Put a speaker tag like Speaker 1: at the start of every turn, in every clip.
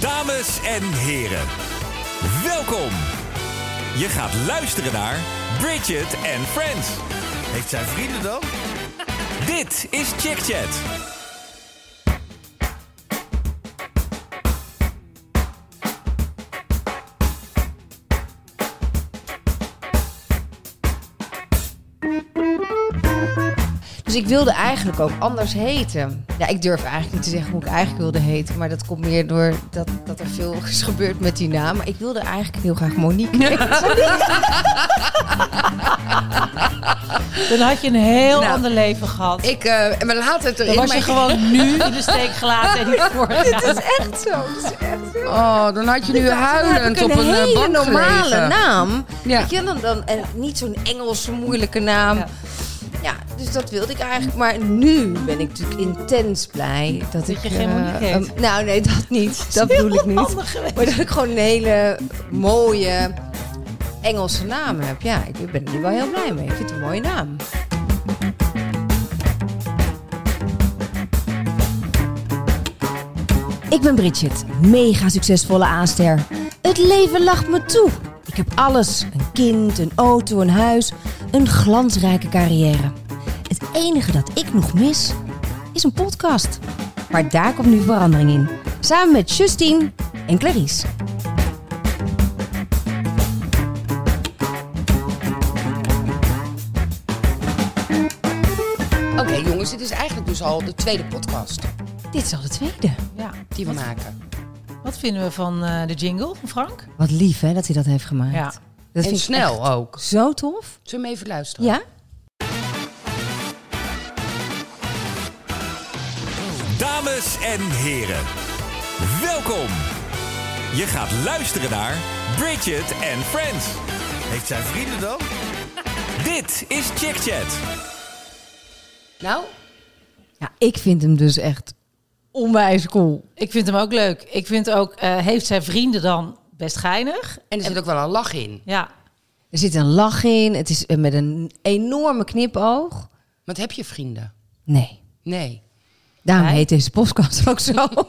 Speaker 1: Dames en heren, welkom. Je gaat luisteren naar Bridget and Friends.
Speaker 2: Heeft zij vrienden dan?
Speaker 1: Dit is Chick Chat.
Speaker 3: Dus ik wilde eigenlijk ook anders heten. Ja, ik durf eigenlijk niet te zeggen hoe ik eigenlijk wilde heten. Maar dat komt meer door dat, dat er veel is gebeurd met die naam. Maar ik wilde eigenlijk heel graag Monique heten.
Speaker 4: Dan had je een heel
Speaker 3: Nou,
Speaker 4: ander leven gehad.
Speaker 3: ik, eh maar laat het
Speaker 4: dan
Speaker 3: erin.
Speaker 4: was je
Speaker 3: maar-
Speaker 4: gewoon nu in de steek gelaten en niet vorig
Speaker 5: Dit
Speaker 4: jaar.
Speaker 5: is echt zo. Dit is echt zo.
Speaker 3: Oh, dan had je Dus nu
Speaker 5: heb
Speaker 3: huilend
Speaker 5: ik
Speaker 3: op
Speaker 5: een
Speaker 3: een eh,
Speaker 5: hele
Speaker 3: bank
Speaker 5: normale
Speaker 3: gelegen.
Speaker 5: naam.
Speaker 3: Ja.
Speaker 5: Weet je, dan, dan, en niet zo'n Engelse moeilijke naam. Ja.
Speaker 4: Ja.
Speaker 5: dus dat wilde ik eigenlijk. Maar
Speaker 3: Maar nu ben ik natuurlijk intens blij dat
Speaker 4: Dat
Speaker 3: ik...
Speaker 4: je geen
Speaker 3: eh,
Speaker 4: Monique heet.
Speaker 3: een- nou, nee, dat niet. Dat bedoel ik niet.
Speaker 4: Handig geweest.
Speaker 3: Maar dat ik gewoon een hele mooie Engelse naam heb. Ja, ik ben er nu wel heel blij mee. Ik vind het een mooie naam.
Speaker 5: ik ben Bridget, mega succesvolle aanster. Het leven lacht me toe. Ik heb alles: een kind, een auto, een huis, een glansrijke carrière. Het enige dat ik nog mis is een podcast. Maar daar komt nu verandering in. Samen met Justine en Clarice.
Speaker 3: Oké, jongens, dit is eigenlijk dus al de tweede podcast
Speaker 5: Dit is al de tweede.
Speaker 4: Ja.
Speaker 3: die we maken.
Speaker 4: Wat vinden we van eh, de jingle van Frank?
Speaker 5: Wat lief hè, dat hij dat heeft gemaakt.
Speaker 4: Ja.
Speaker 5: Dat
Speaker 3: en
Speaker 5: ik
Speaker 3: snel ook.
Speaker 5: echt zo tof.
Speaker 3: Zullen we hem even luisteren?
Speaker 5: Ja?
Speaker 1: Dames en heren, welkom. Je gaat luisteren naar Bridget and Friends.
Speaker 2: Heeft zij vrienden dan?
Speaker 1: Dit is Chick Chat.
Speaker 3: Nou,
Speaker 5: Ja, ik vind hem dus echt onwijs cool.
Speaker 4: Ik vind hem ook leuk. Ik vind ook, eh, heeft zijn vrienden dan best geinig?
Speaker 3: en er zit ook wel een lach in.
Speaker 4: Ja.
Speaker 5: Er zit een lach in. Het is eh, met een enorme knipoog.
Speaker 3: Want heb je vrienden?
Speaker 5: Nee.
Speaker 3: Nee.
Speaker 5: Daarom
Speaker 4: Nee?
Speaker 5: heet deze podcast ook zo.
Speaker 3: Daarom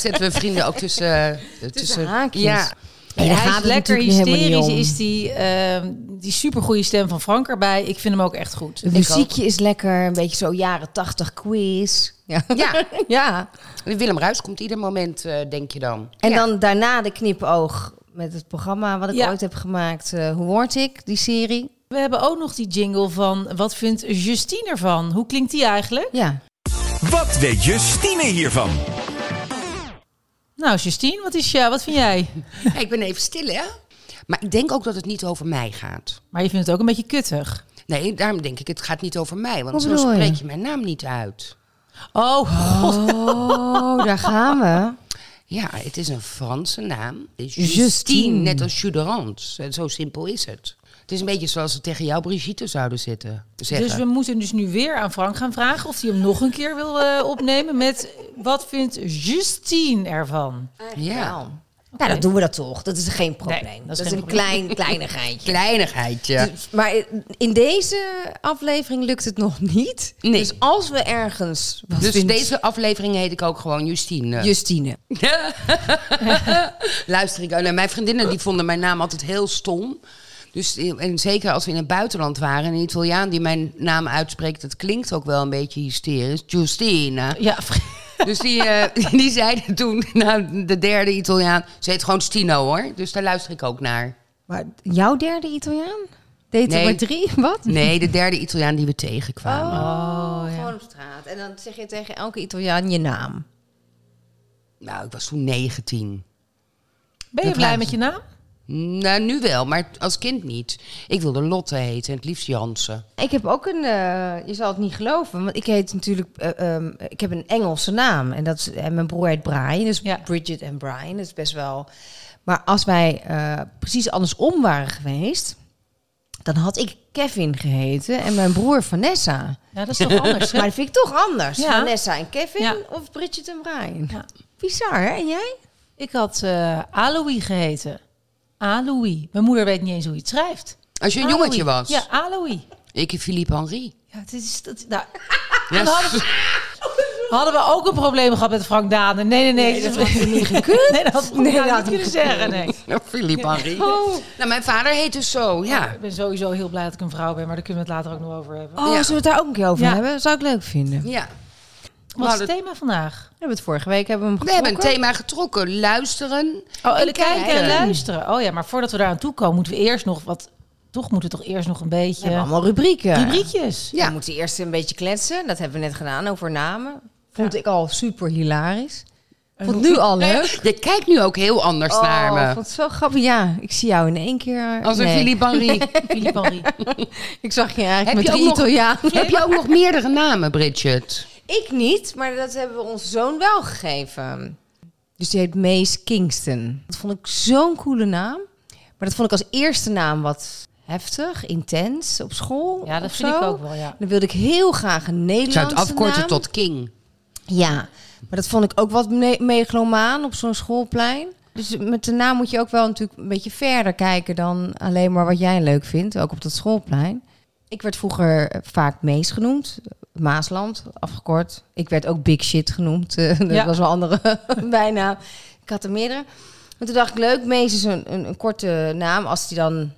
Speaker 3: zetten we vrienden ook tussen... eh, tussen,
Speaker 5: haakjes.
Speaker 3: Ja.
Speaker 5: En
Speaker 4: hij is lekker hysterisch, is
Speaker 5: Is
Speaker 4: die, ehm die supergoeie stem van Frank erbij. Ik vind hem ook echt goed.
Speaker 5: het muziekje is lekker. Een beetje zo jaren tachtig quiz. Ja.
Speaker 3: Ja.
Speaker 5: ja.
Speaker 3: Willem Ruis komt ieder moment, eh, denk je dan.
Speaker 5: En
Speaker 3: Ja.
Speaker 5: dan daarna de knipoog met het programma wat ik
Speaker 4: Ja.
Speaker 5: ooit heb gemaakt. eh, Hoe word ik? Die serie.
Speaker 4: We hebben ook nog die jingle van, wat vindt Justine ervan? Hoe klinkt die eigenlijk?
Speaker 5: Ja.
Speaker 1: Wat weet Justine hiervan?
Speaker 4: Nou, Justine, wat, is, ja, wat vind jij?
Speaker 3: Hey, ik ben even stil, hè? Maar ik denk ook dat het niet over mij gaat.
Speaker 4: Maar je vindt het ook een beetje kuttig.
Speaker 3: Nee, daarom denk ik, het gaat niet over mij. Want
Speaker 5: Wat
Speaker 3: zo
Speaker 5: bedoel je?
Speaker 3: spreek je mijn naam niet uit.
Speaker 4: Oh,
Speaker 5: Oh, daar gaan we.
Speaker 3: Ja, het is een Franse naam. Justine,
Speaker 5: Justine.
Speaker 3: net als Juderant. Zo simpel is het. Het is een beetje zoals ze tegen jou Brigitte zouden zitten, zeggen.
Speaker 4: Dus we moeten dus nu weer aan Frank gaan vragen of hij hem nog een keer wil eh, opnemen met wat vindt Justine ervan?
Speaker 3: ja,
Speaker 5: Nou, nou, dan doen we dat toch. Dat is geen probleem.
Speaker 4: Nee,
Speaker 5: dat is,
Speaker 4: geen
Speaker 5: een
Speaker 4: probleem.
Speaker 5: klein, kleinigheidje.
Speaker 3: kleinigheidje.
Speaker 5: Dus- maar in deze aflevering lukt het nog niet.
Speaker 3: Nee.
Speaker 5: Dus als we ergens wat
Speaker 3: Dus
Speaker 5: vindt
Speaker 3: deze aflevering heet ik ook gewoon Justine.
Speaker 5: Justine.
Speaker 3: Luister ik. Nou, mijn vriendinnen die vonden mijn naam altijd heel stom. Dus, en zeker als we in het buitenland waren. Een Italiaan die mijn naam uitspreekt, dat klinkt ook wel een beetje hysterisch. Justina.
Speaker 4: Ja, Fr-
Speaker 3: Dus die, eh, die zeiden toen, nou, de derde Italiaan, ze heet gewoon Stino hoor. Dus daar luister ik ook naar.
Speaker 5: Maar jouw derde Italiaan? Deed
Speaker 3: Nee.
Speaker 5: er maar drie? Wat? Oh,
Speaker 3: Nee, de derde Italiaan die we tegenkwamen.
Speaker 5: Gewoon op straat. En dan zeg je tegen elke Italiaan je naam. Oh.
Speaker 3: Nou, ik was toen 19.
Speaker 4: ben je
Speaker 3: Dat
Speaker 4: blij
Speaker 3: laat-
Speaker 4: met je naam?
Speaker 3: Nou, nu wel, maar als kind niet. Ik wilde Lotte heten en het liefst Jansen.
Speaker 5: Ik heb ook een, eh, je zal het niet geloven, want ik heet natuurlijk, eh, ehm, ik heb een Engelse naam. En, dat is, en mijn broer heet Brian, dus
Speaker 4: Ja.
Speaker 5: Bridget en Brian, dat is best wel. Maar als wij eh, precies andersom waren geweest, dan had ik Kevin geheten en mijn broer Vanessa.
Speaker 4: Ja, dat is toch anders. hè?
Speaker 5: Maar dat vind ik toch anders,
Speaker 4: Ja.
Speaker 5: Vanessa en Kevin
Speaker 4: Ja.
Speaker 5: of Bridget en Brian.
Speaker 4: Ja.
Speaker 5: Bizar, hè? En jij?
Speaker 4: Ik had eh Aloï geheten. Aloï. Mijn moeder weet niet eens hoe je het schrijft.
Speaker 3: Als je een
Speaker 4: Aloï.
Speaker 3: jongetje was.
Speaker 4: Ja, Aloï.
Speaker 3: Ik en Philippe Henry.
Speaker 4: Ja, het is dat. Nou,
Speaker 3: Ja,
Speaker 4: hadden, Hadden we ook een probleem gehad met Frank Daanen? Nee, nee, nee.
Speaker 3: Nee, dat had hij niet
Speaker 4: gekund. Nee, dat had Frank
Speaker 3: Nee, dat
Speaker 4: Daanen
Speaker 3: had
Speaker 4: niet
Speaker 3: hij
Speaker 4: kunnen
Speaker 3: niet
Speaker 4: zeggen. Nee.
Speaker 3: Philippe Henry.
Speaker 5: Oh.
Speaker 3: Nou, mijn vader heet dus zo, ja.
Speaker 4: Ik ben sowieso heel blij dat ik een vrouw ben, maar daar kunnen we het later ook nog over hebben.
Speaker 5: Oh,
Speaker 3: Ja.
Speaker 5: zullen we het daar ook een keer over
Speaker 4: Ja.
Speaker 5: hebben? Zou ik leuk vinden. We
Speaker 3: ja.
Speaker 4: Wat is
Speaker 3: dat-
Speaker 4: het thema vandaag?
Speaker 5: hebben het vorige week hebben we hem
Speaker 3: We hebben een
Speaker 5: getrokken.
Speaker 3: thema getrokken. Luisteren.
Speaker 4: Oh,
Speaker 3: en
Speaker 4: en kijken en
Speaker 3: kijken.
Speaker 4: luisteren. Oh ja, maar voordat we daar aan toe komen, moeten we eerst nog wat. Toch moeten we toch eerst nog een
Speaker 5: We hebben
Speaker 4: beetje.
Speaker 5: allemaal rubrieken.
Speaker 4: Rubriekjes.
Speaker 3: Ja.
Speaker 5: We moeten eerst een beetje kletsen. Dat hebben we net gedaan over namen. Vond ik al super hilarisch. Vond nu al leuk.
Speaker 3: Je kijkt nu ook heel anders naar
Speaker 5: Oh,
Speaker 3: me.
Speaker 5: vond het zo grappig. Ja, ik zie jou in één keer. eh,
Speaker 3: Als een
Speaker 5: nee.
Speaker 3: Philippe Henry.
Speaker 4: Philippe Henry.
Speaker 5: Ik zag je eigenlijk
Speaker 3: Heb
Speaker 5: met
Speaker 3: je ook
Speaker 5: drie
Speaker 3: nog-
Speaker 5: Italianen.
Speaker 3: Heb je ook nog meerdere namen, Bridget?
Speaker 5: Ik niet, maar dat hebben we onze zoon wel gegeven. Dus die heet Mace Kingston. Dat vond ik zo'n coole naam. Maar dat vond ik als eerste naam wat heftig, intens op school.
Speaker 4: Ja, dat
Speaker 5: of
Speaker 4: vind
Speaker 5: zo.
Speaker 4: ik ook wel, ja.
Speaker 5: Dan wilde ik heel graag een
Speaker 3: Ik
Speaker 5: Nederlandse
Speaker 3: zou het afkorten
Speaker 5: naam.
Speaker 3: tot King.
Speaker 5: Ja, maar dat vond ik ook wat me- megalomaan op zo'n schoolplein. Dus met de naam moet je ook wel natuurlijk een beetje verder kijken dan alleen maar wat jij leuk vindt, ook op dat schoolplein. Ik werd vroeger eh, vaak Mees genoemd, Maasland, afgekort. Ik werd ook Big Shit genoemd, eh, dat
Speaker 4: Ja.
Speaker 5: was wel een andere bijnaam. Ik had er meerdere. Maar toen dacht ik, leuk, Mees is een, een, een korte naam. Als die dan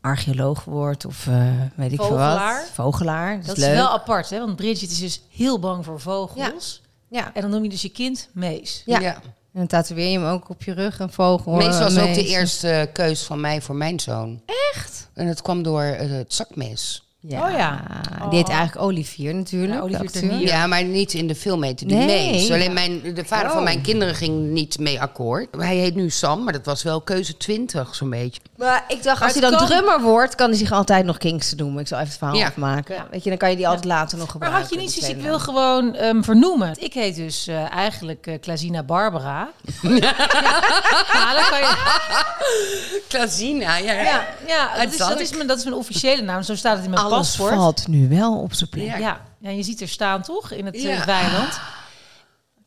Speaker 5: archeoloog wordt of eh, weet ik veel
Speaker 4: Vogelaar.
Speaker 5: wat. Vogelaar. Dat,
Speaker 4: Dat
Speaker 5: is
Speaker 4: is
Speaker 5: leuk.
Speaker 4: wel apart, hè? Want Bridget is dus heel bang voor vogels.
Speaker 5: Ja.
Speaker 4: En dan noem je dus je kind Mees.
Speaker 5: Ja. En dan tatoeëer je hem ook op je rug, een vogel.
Speaker 3: Mees was
Speaker 5: een
Speaker 3: ook de
Speaker 5: Oh, mees.
Speaker 3: eerste keus van mij voor mijn zoon.
Speaker 5: Echt?
Speaker 3: En dat kwam door eh, het zakmes.
Speaker 5: Ja.
Speaker 4: Oh ja.
Speaker 5: Die heet eigenlijk Olivier natuurlijk.
Speaker 4: Ja, Olivier
Speaker 5: de acteur.
Speaker 4: Ternier. Ja.
Speaker 3: Ja, maar niet in de film heette die
Speaker 5: Nee.
Speaker 3: Mees. Alleen mijn, de vader van mijn kinderen ging niet mee akkoord. Hij heet nu Sam, maar dat was wel keuze 20 zo'n beetje.
Speaker 5: Maar ik dacht,
Speaker 4: Maar
Speaker 5: als hij
Speaker 4: het
Speaker 5: dan
Speaker 4: kan-
Speaker 5: drummer wordt, kan hij zich altijd nog Kingston noemen. Ik zal even het verhaal
Speaker 3: Ja.
Speaker 5: afmaken. Weet je, dan kan je die altijd later nog
Speaker 4: Maar
Speaker 5: gebruiken.
Speaker 4: had je niet
Speaker 5: die
Speaker 4: zoiets, ik
Speaker 5: tweede
Speaker 4: wil gewoon ehm, vernoemen. Ik heet dus eh, eigenlijk eh Klazina Barbara. ja, dan kan je,
Speaker 3: Klazina, ja.
Speaker 4: ja, ja dat, is,
Speaker 3: zal
Speaker 4: dat,
Speaker 3: ik.
Speaker 4: is mijn, dat is mijn officiële naam. Zo staat het in mijn
Speaker 5: naam. Alles
Speaker 4: paspoort.
Speaker 5: valt nu wel op zijn plek.
Speaker 3: Ja.
Speaker 4: Ja, ja, je ziet er staan toch in het eh,
Speaker 3: Ja.
Speaker 4: weiland.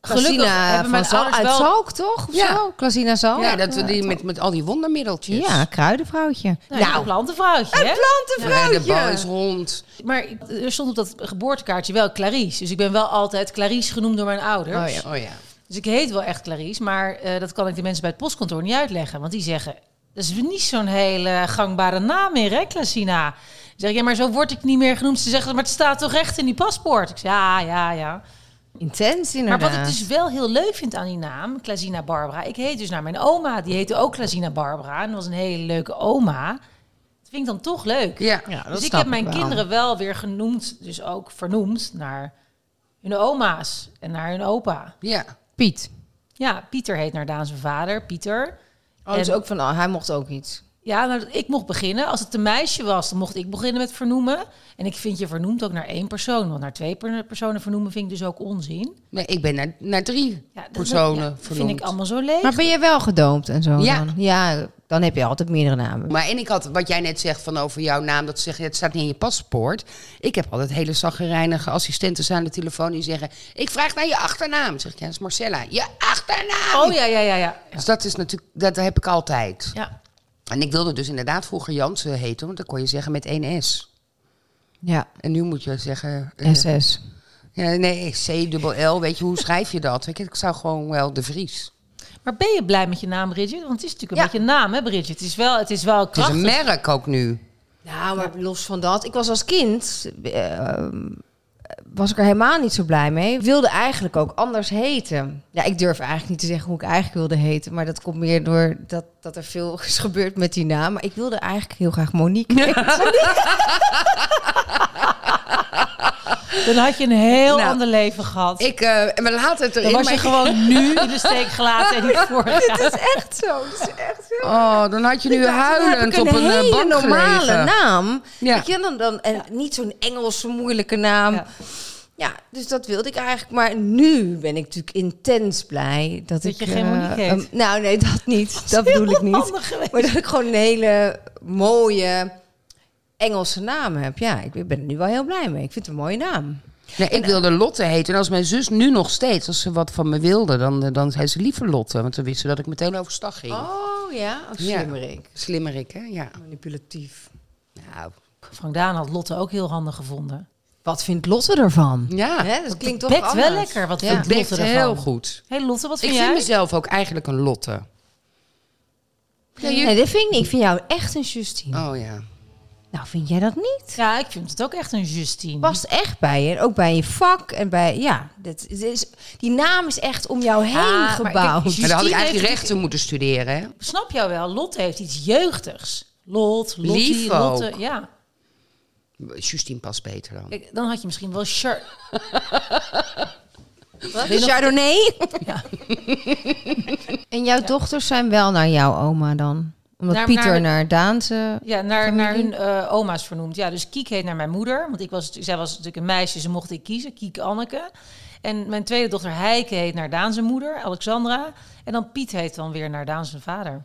Speaker 4: Gelukkig
Speaker 5: Klasina
Speaker 4: hebben
Speaker 5: eh, van
Speaker 4: mijn
Speaker 5: Zal,
Speaker 4: ouders
Speaker 5: uit
Speaker 4: wel...
Speaker 5: Zalk, toch? Of
Speaker 3: Ja.
Speaker 5: zo? Klasina Zalk?
Speaker 3: Ja, dat we die met, met al die wondermiddeltjes.
Speaker 5: Oh, Ja, kruidenvrouwtje.
Speaker 4: Nou, een plantenvrouwtje, hè?
Speaker 3: Ja, de
Speaker 5: plantenvrouwtje!
Speaker 3: bal is rond.
Speaker 4: Maar ik- er stond op dat geboortekaartje wel Clarice. Dus ik ben wel altijd Clarice genoemd door mijn ouders.
Speaker 5: Oh
Speaker 3: Oh ja.
Speaker 4: Dus ik heet wel echt Clarice. Maar eh, dat kan ik de mensen bij het postkantoor niet uitleggen. Want die zeggen, dat is niet zo'n hele gangbare naam meer, hè, Classina? Dan zeg ik, ja, maar zo word ik niet meer genoemd. Ze zeggen, maar het staat toch echt in die paspoort? Ik zeg, ja, ja, ja.
Speaker 5: Intens
Speaker 4: Maar
Speaker 5: inderdaad.
Speaker 4: wat ik dus wel heel leuk vind aan die naam, Klazina Barbara. Ik heet dus naar mijn oma. Die heette ook Klazina Barbara. En dat was een hele leuke oma. Dat vind ik dan toch leuk.
Speaker 3: Ja.
Speaker 5: Ja, dat
Speaker 4: dus ik
Speaker 5: snap
Speaker 4: heb mijn
Speaker 5: wel.
Speaker 4: kinderen wel weer genoemd, dus ook vernoemd naar hun oma's en naar hun opa.
Speaker 3: ja.
Speaker 5: Piet.
Speaker 4: Ja, Pieter heet naar Daan zijn vader, Pieter.
Speaker 5: Oh, dus ook van, oh, hij mocht ook iets.
Speaker 4: Ja, nou, ik mocht beginnen. Als het een meisje was, dan mocht ik beginnen met vernoemen. En ik vind je vernoemd ook naar één persoon. Want naar twee per- personen vernoemen vind ik dus ook onzin.
Speaker 3: Nee, ik ben naar, naar drie
Speaker 4: Ja, dat-
Speaker 3: personen
Speaker 4: ja, dat vind
Speaker 3: vernoemd.
Speaker 4: ik allemaal zo leuk.
Speaker 5: Maar ben je wel gedoopt en zo
Speaker 3: Ja.
Speaker 5: dan? Ja, dan heb je altijd meerdere namen.
Speaker 3: Maar en ik had, wat jij net zegt van over jouw naam, dat zeg, je, het staat niet in je paspoort. Ik heb altijd hele zaggerijnige assistenten aan de telefoon die zeggen... Ik vraag naar je achternaam. Dan Zeg ik, ja, dat is Marcella. Je achternaam!
Speaker 4: Oh ja, ja, ja, ja.
Speaker 3: Dus dat is natuurlijk, dat heb ik altijd.
Speaker 4: ja.
Speaker 3: En ik wilde dus inderdaad vroeger Jansen heten, want dan kon je zeggen met één S.
Speaker 5: Ja,
Speaker 3: En nu moet je zeggen... eh,
Speaker 5: SS.
Speaker 3: ja, nee, C-dubbel-L, weet je, hoe schrijf je dat? Ik, ik zou gewoon wel de Vries.
Speaker 4: Maar ben je blij met je naam, Bridget? Want het is natuurlijk een
Speaker 5: Ja.
Speaker 4: beetje een naam, hè, Bridget? Het is wel, het is wel
Speaker 3: Het is
Speaker 4: krachtig.
Speaker 3: een merk ook nu.
Speaker 5: Nou, maar los van dat. Ik was als kind. eh, was ik er helemaal niet zo blij mee. Ik wilde eigenlijk ook anders heten. Ja, ik durf eigenlijk niet te zeggen hoe ik eigenlijk wilde heten. Maar dat komt meer door dat, dat er veel is gebeurd met die naam. Maar ik wilde eigenlijk heel graag Monique heten.
Speaker 4: Dan had je een heel
Speaker 3: Nou,
Speaker 4: ander leven gehad.
Speaker 3: Ik, eh maar laat het
Speaker 4: dan
Speaker 3: erin.
Speaker 4: was je
Speaker 3: maar-
Speaker 4: gewoon nu in de steek gelaten en niet vorig jaar.
Speaker 5: Dat is echt zo. Dat is echt zo.
Speaker 3: Oh, dan had je nu
Speaker 5: Ik dacht, dan heb
Speaker 3: huilend
Speaker 5: ik
Speaker 3: op een eh,
Speaker 5: hele
Speaker 3: bank
Speaker 5: normale
Speaker 3: gelegen.
Speaker 5: naam.
Speaker 3: Ja.
Speaker 5: Weet je, dan, dan, en niet zo'n Engelse moeilijke naam.
Speaker 4: Ja.
Speaker 5: Ja. dus dat wilde ik eigenlijk. Maar nu ben ik natuurlijk intens blij dat,
Speaker 4: Dat
Speaker 5: ik...
Speaker 4: je geen
Speaker 5: eh,
Speaker 4: Monique heet.
Speaker 5: een- nou, nee, dat niet. dat bedoel ik niet.
Speaker 4: Handig geweest.
Speaker 5: Maar dat ik gewoon een hele mooie Engelse naam heb. Ja, ik ben er nu wel heel blij mee. Ik vind het een mooie naam.
Speaker 3: Nee,
Speaker 4: eh,
Speaker 3: ik wilde Lotte heten. En als mijn zus nu nog steeds, als ze wat van me wilde, dan, eh, dan zei ze liever Lotte. Want dan wist ze dat ik meteen overstag ging.
Speaker 5: Oh ja, oh,
Speaker 3: Ja.
Speaker 5: slimmerik.
Speaker 3: Slimmerik, hè? Ja.
Speaker 5: Manipulatief.
Speaker 3: Nou,
Speaker 4: Frank Daan had Lotte ook heel handig gevonden.
Speaker 6: Wat vindt Lotte ervan?
Speaker 3: Ja,
Speaker 5: Hè, dat klinkt toch
Speaker 4: Bekt wel
Speaker 5: anders.
Speaker 4: lekker. Wat
Speaker 3: ja.
Speaker 4: vindt
Speaker 3: het bekt
Speaker 4: Lotte ervan?
Speaker 3: heel goed.
Speaker 4: Hey Lotte, wat
Speaker 3: Ik
Speaker 4: vind
Speaker 3: vind
Speaker 4: jij?
Speaker 3: mezelf ook eigenlijk een Lotte. Ja, je-
Speaker 6: Nee, dat vind ik niet. Ik vind jou echt een Justine.
Speaker 3: Oh ja.
Speaker 6: Nou, vind jij dat niet?
Speaker 4: Ja, ik vind het ook echt een Justine.
Speaker 6: Past echt bij je. En ook bij je vak en bij... Ja, dat, dit is, die naam is echt om jou
Speaker 5: Ah,
Speaker 6: heen
Speaker 4: maar
Speaker 6: gebouwd.
Speaker 4: kijk,
Speaker 3: Maar dan had ik
Speaker 4: Justine
Speaker 3: eigenlijk
Speaker 4: heeft-
Speaker 3: rechten moeten studeren, hè?
Speaker 4: Ik snap jou wel. Lotte heeft iets jeugdigs. Lot, Lottie,
Speaker 3: Lief
Speaker 4: Lotte.
Speaker 3: ook.
Speaker 4: Ja.
Speaker 3: Justine past beter dan.
Speaker 4: Kijk, dan had je misschien wel Char...
Speaker 6: De Chardonnay.
Speaker 4: Ja.
Speaker 5: En jouw dochters zijn wel naar jouw oma dan? Omdat
Speaker 4: Naar-
Speaker 5: Pieter
Speaker 4: naar-
Speaker 5: naar, Daanse...
Speaker 4: Ja, naar, naar hun eh, oma's vernoemd. Ja, dus Kiek heet naar mijn moeder. Want ik was, natuurlijk- zij was natuurlijk een meisje, ze mocht ik kiezen. Kiek Anneke. En mijn tweede dochter Heike heet naar Daan zijn moeder, Alexandra. En dan Piet heet dan weer naar Daan zijn vader.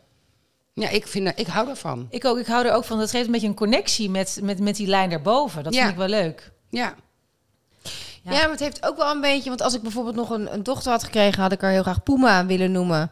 Speaker 3: Ja, ik, vind, ik hou daarvan.
Speaker 4: Ik, ook, ik hou er ook van, dat geeft een beetje een connectie met, met, met die lijn daarboven. Dat
Speaker 3: Ja.
Speaker 4: vind ik wel leuk.
Speaker 3: Ja.
Speaker 5: Ja. maar het heeft ook wel een beetje... Want als ik bijvoorbeeld nog een, een dochter had gekregen... had ik haar heel graag Puma willen noemen.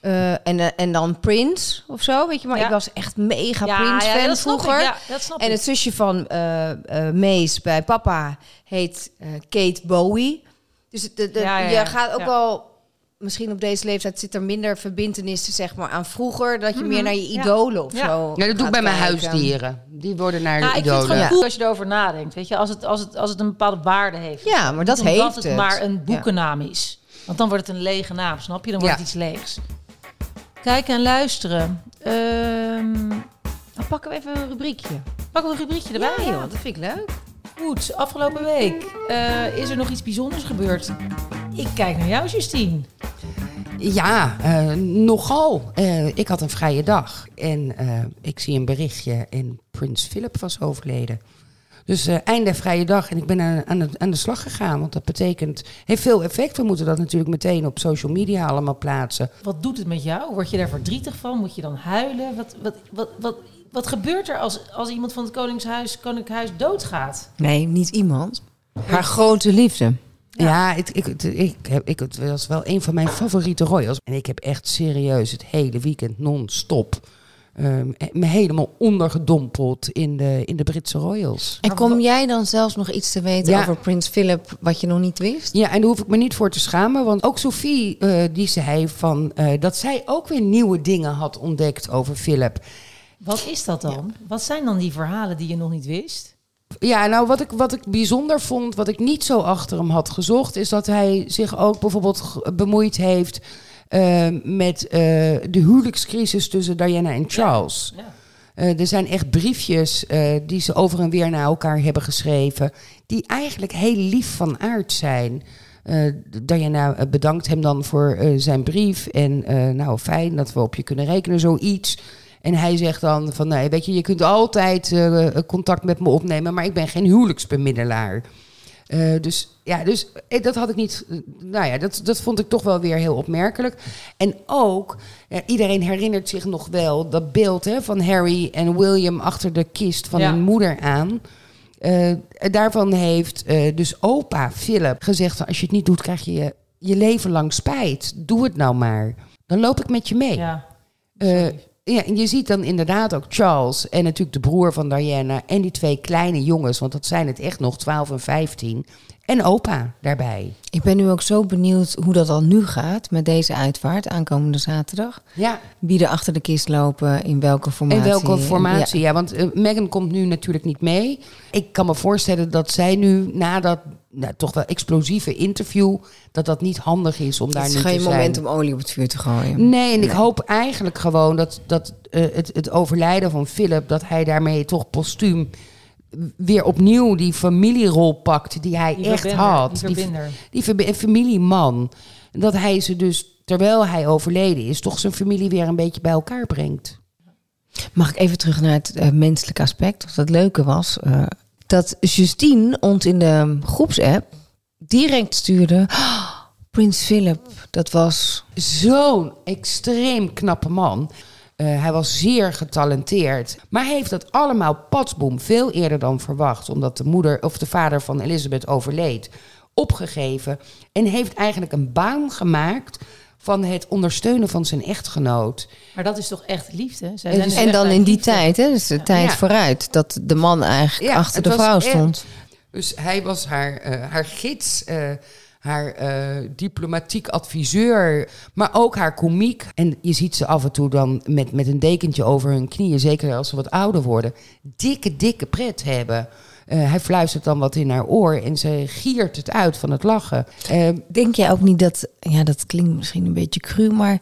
Speaker 5: Eh, en, eh, en dan Prince of zo, weet je. Maar
Speaker 4: Ja.
Speaker 5: ik was echt mega
Speaker 4: ja,
Speaker 5: Prince-fan
Speaker 4: dat snap
Speaker 5: vroeger.
Speaker 4: Ik, ja, dat snap
Speaker 5: En
Speaker 4: ik.
Speaker 5: het zusje van eh eh, Mees bij papa heet eh, Kate Bowie. Dus de, de,
Speaker 4: Ja, ja, ja.
Speaker 5: je gaat ook
Speaker 4: Ja.
Speaker 5: wel... Misschien op deze leeftijd zit er minder verbindenissen zeg maar, aan vroeger. Dat je meer naar je
Speaker 4: Mhm. Ja.
Speaker 5: idolen of
Speaker 4: Ja.
Speaker 5: zo
Speaker 3: Ja, dat doe ik
Speaker 5: gaat
Speaker 3: bij mijn
Speaker 5: kijken.
Speaker 3: huisdieren. Die worden naar
Speaker 4: Nou,
Speaker 3: de
Speaker 4: ik vind het
Speaker 3: idolen.
Speaker 4: gewoon
Speaker 5: Ja.
Speaker 4: cool als je erover nadenkt. Weet je, als het, als het, als het een bepaalde waarde heeft.
Speaker 5: Ja, maar dat
Speaker 4: Niet
Speaker 5: heeft
Speaker 4: omdat
Speaker 5: het.
Speaker 4: het maar een
Speaker 5: Ja.
Speaker 4: boekennaam is. Want dan wordt het een lege naam, snap je? Dan wordt
Speaker 3: Ja.
Speaker 4: het iets leegs. Kijken en luisteren. Ehm, dan pakken we even een rubriekje. Pakken we een rubriekje erbij,
Speaker 5: Ja,
Speaker 4: joh.
Speaker 5: joh, dat vind ik leuk.
Speaker 4: Goed, afgelopen week eh, is er nog iets bijzonders gebeurd. Ik kijk naar jou, Justine.
Speaker 3: Ja, eh, nogal. Eh, ik had een vrije dag en eh, ik zie een berichtje en Prins Philip was overleden. Dus eh einde vrije dag en ik ben aan, aan, de, aan de slag gegaan, want dat betekent, heeft veel effect. We moeten dat natuurlijk meteen op social media allemaal plaatsen.
Speaker 4: Wat doet het met jou? Word je daar verdrietig van? Moet je dan huilen? Wat, wat, wat, wat, wat gebeurt er als, als iemand van het Koningshuis, Koninkhuis doodgaat?
Speaker 6: Nee, niet iemand. Haar grote liefde.
Speaker 3: Ja, het, ik, het, ik, heb, ik, het was wel een van mijn favoriete royals. En ik heb echt serieus het hele weekend non-stop ehm, eh, me helemaal ondergedompeld in de, in de Britse royals.
Speaker 5: En kom jij dan zelfs nog iets te weten
Speaker 3: Ja.
Speaker 5: over Prins Philip wat je nog niet wist?
Speaker 3: Ja, en daar hoef ik me niet voor te schamen. Want ook Sophie, eh, die zei van, eh, dat zij ook weer nieuwe dingen had ontdekt over Philip.
Speaker 4: Wat is dat dan? Wat zijn dan die verhalen die je nog niet wist?
Speaker 3: Ja, nou wat ik, wat ik bijzonder vond, wat ik niet zo achter hem had gezocht, is dat hij zich ook bijvoorbeeld g- bemoeid heeft eh, met eh, de huwelijkscrisis tussen Diana en Charles.
Speaker 4: Ja.
Speaker 3: Eh, er zijn echt briefjes eh, die ze over en weer naar elkaar hebben geschreven. Die eigenlijk heel lief van aard zijn. Eh, Diana eh, bedankt hem dan voor eh, zijn brief. En eh, nou, fijn dat we op je kunnen rekenen, zoiets. En hij zegt dan van, nee, weet je, je kunt altijd eh, contact met me opnemen, maar ik ben geen huwelijksbemiddelaar. Eh, dus ja, dus eh, dat had ik niet. eh, nou ja, dat, dat vond ik toch wel weer heel opmerkelijk. En ook, eh, iedereen herinnert zich nog wel dat beeld hè, van Harry en William achter de kist van
Speaker 4: Ja.
Speaker 3: hun moeder aan. Eh, daarvan heeft eh, dus opa Philip gezegd: van, als je het niet doet, krijg je je, je leven lang spijt. Doe het nou maar. Dan loop ik met je mee.
Speaker 4: Ja.
Speaker 3: Eh, ja, en je ziet dan inderdaad ook Charles en natuurlijk de broer van Diana en die twee kleine jongens, want dat zijn het echt nog 12 en 15. En opa daarbij.
Speaker 5: Ik ben nu ook zo benieuwd hoe dat al nu gaat met deze uitvaart aankomende zaterdag.
Speaker 3: Ja,
Speaker 5: Wie er achter de kist lopen, in welke
Speaker 3: en
Speaker 5: formatie.
Speaker 3: welke formatie? Ja, want eh, Meghan komt nu natuurlijk niet mee. Ik kan me voorstellen dat zij nu na dat nou, toch wel explosieve interview, dat dat niet handig is om daar
Speaker 5: Het
Speaker 3: nu
Speaker 5: is
Speaker 3: te zijn.
Speaker 5: geen moment om olie op het vuur te gooien.
Speaker 3: Nee, en ik hoop eigenlijk gewoon dat, dat eh, het, het overlijden van Philip, dat hij daarmee toch postuum weer opnieuw die familierol pakt die hij
Speaker 4: Die
Speaker 3: echt
Speaker 4: verbinder,
Speaker 3: had.
Speaker 4: die verbinder.
Speaker 3: die verbi- een familieman. Dat hij ze dus, terwijl hij overleden is, toch zijn familie weer een beetje bij elkaar brengt.
Speaker 5: Mag ik even terug naar het eh, menselijke aspect? Wat het leuke was, eh, dat Justine ons in de groepsapp direct stuurde... "Oh, Prins Philip, dat was...
Speaker 3: Zo'n extreem knappe man. Eh, hij was zeer getalenteerd. Maar hij heeft dat allemaal patsboom veel eerder dan verwacht. Omdat de moeder of de vader van Elizabeth overleed. Opgegeven. En heeft eigenlijk een baan gemaakt van het ondersteunen van zijn echtgenoot.
Speaker 4: Maar dat is toch echt liefde? Zij zijn
Speaker 5: En,
Speaker 4: dus echt
Speaker 5: dan
Speaker 4: uit
Speaker 5: in die
Speaker 4: liefde.
Speaker 5: tijd, hè, dus de tijd
Speaker 3: Ja.
Speaker 5: vooruit, dat de man eigenlijk
Speaker 3: Ja,
Speaker 5: achter
Speaker 3: het
Speaker 5: de
Speaker 3: was
Speaker 5: vrouw
Speaker 3: echt-
Speaker 5: stond.
Speaker 3: Dus hij was haar, eh, haar gids, eh, haar eh, diplomatiek adviseur, maar ook haar komiek. En je ziet ze af en toe dan met, met een dekentje over hun knieën, zeker als ze wat ouder worden, dikke, dikke pret hebben. Eh, hij fluistert dan wat in haar oor en ze giert het uit van het lachen. Eh,
Speaker 6: Denk jij ook niet dat, ja, dat klinkt misschien een beetje cru, maar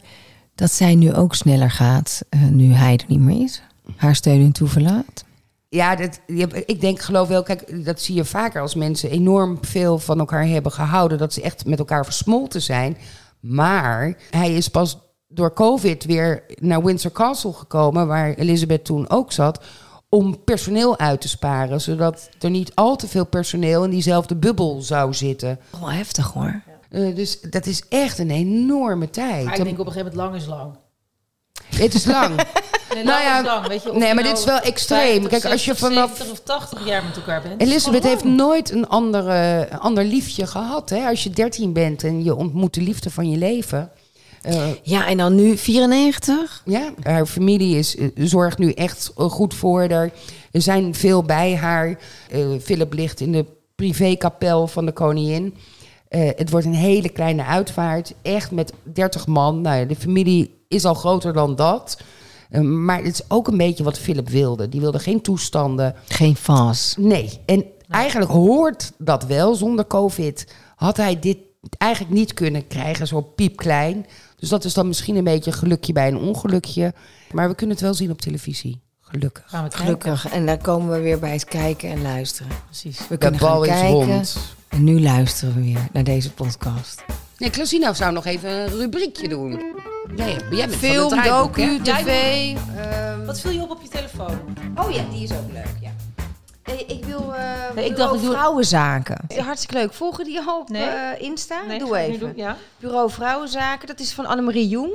Speaker 6: dat zij nu ook sneller gaat, eh, nu hij er niet meer is? Haar steun en toeverlaat?
Speaker 3: Ja, dat, je hebt- ik denk geloof wel, kijk, dat zie je vaker als mensen enorm veel van elkaar hebben gehouden, dat ze echt met elkaar versmolten zijn. Maar hij is pas door COVID weer naar Windsor Castle gekomen, waar Elizabeth toen ook zat, om personeel uit te sparen, zodat er niet al te veel personeel in diezelfde bubbel zou zitten.
Speaker 6: Wel Oh, heftig hoor.
Speaker 3: Eh, dus dat is echt een enorme tijd.
Speaker 4: Maar ik denk op een gegeven moment lang is lang.
Speaker 3: Het is lang.
Speaker 4: Nee,
Speaker 3: Nou
Speaker 4: lang
Speaker 3: ja,
Speaker 4: is lang. Weet je, of
Speaker 3: nee,
Speaker 4: je
Speaker 3: maar
Speaker 4: nou
Speaker 3: dit is wel extreem.
Speaker 4: 50,
Speaker 3: Kijk, als je
Speaker 4: 60,
Speaker 3: vanaf-
Speaker 4: 70 of 80 jaar met elkaar bent.
Speaker 3: Elisabeth heeft
Speaker 4: nog.
Speaker 3: nooit een andere, een ander liefje gehad. Hè? Als je 13 bent en je ontmoet de liefde van je leven. Eh,
Speaker 6: Ja, en dan nu 94?
Speaker 3: ja, haar familie is, eh, zorgt nu echt eh, goed voor haar. Er zijn veel bij haar. Eh, Philip ligt in de privékapel van de koningin. Eh, het wordt een hele kleine uitvaart. Echt met 30 man. Nou ja, de familie is al groter dan dat. Eh, maar het is ook een beetje wat Philip wilde. Die wilde geen toestanden.
Speaker 6: Geen vals.
Speaker 3: Nee, en eigenlijk hoort dat wel. Zonder COVID had hij dit eigenlijk niet kunnen krijgen, zo piepklein. Dus dat is dan misschien een beetje gelukje bij een ongelukje. Maar we kunnen het wel zien op televisie, gelukkig.
Speaker 4: Gaan we het kijken.
Speaker 6: Gelukkig. En daar komen we weer bij het kijken en luisteren.
Speaker 4: Precies.
Speaker 6: We kunnen
Speaker 3: de bal
Speaker 6: gaan
Speaker 3: is
Speaker 6: kijken.
Speaker 3: rond.
Speaker 6: En nu luisteren we weer naar deze podcast.
Speaker 3: Nee, Klasina zou nog even een rubriekje doen. Nee, jij bent
Speaker 5: Film,
Speaker 3: van het draaiboek, hè?
Speaker 5: docu, tv.
Speaker 4: Wat viel je op op je telefoon?
Speaker 5: oh ja, die is ook leuk, ja. Nee, ik wil eh
Speaker 4: Nee, ik
Speaker 5: Bureau
Speaker 4: dacht, ik doe-
Speaker 6: Vrouwenzaken.
Speaker 5: Hartstikke leuk. Volgen die al op
Speaker 4: Nee.
Speaker 5: eh, Insta?
Speaker 4: ga
Speaker 5: Doe
Speaker 4: ik nu
Speaker 5: even.
Speaker 4: doen, Ja,
Speaker 5: Bureau Vrouwenzaken, dat is van Annemarie Jong.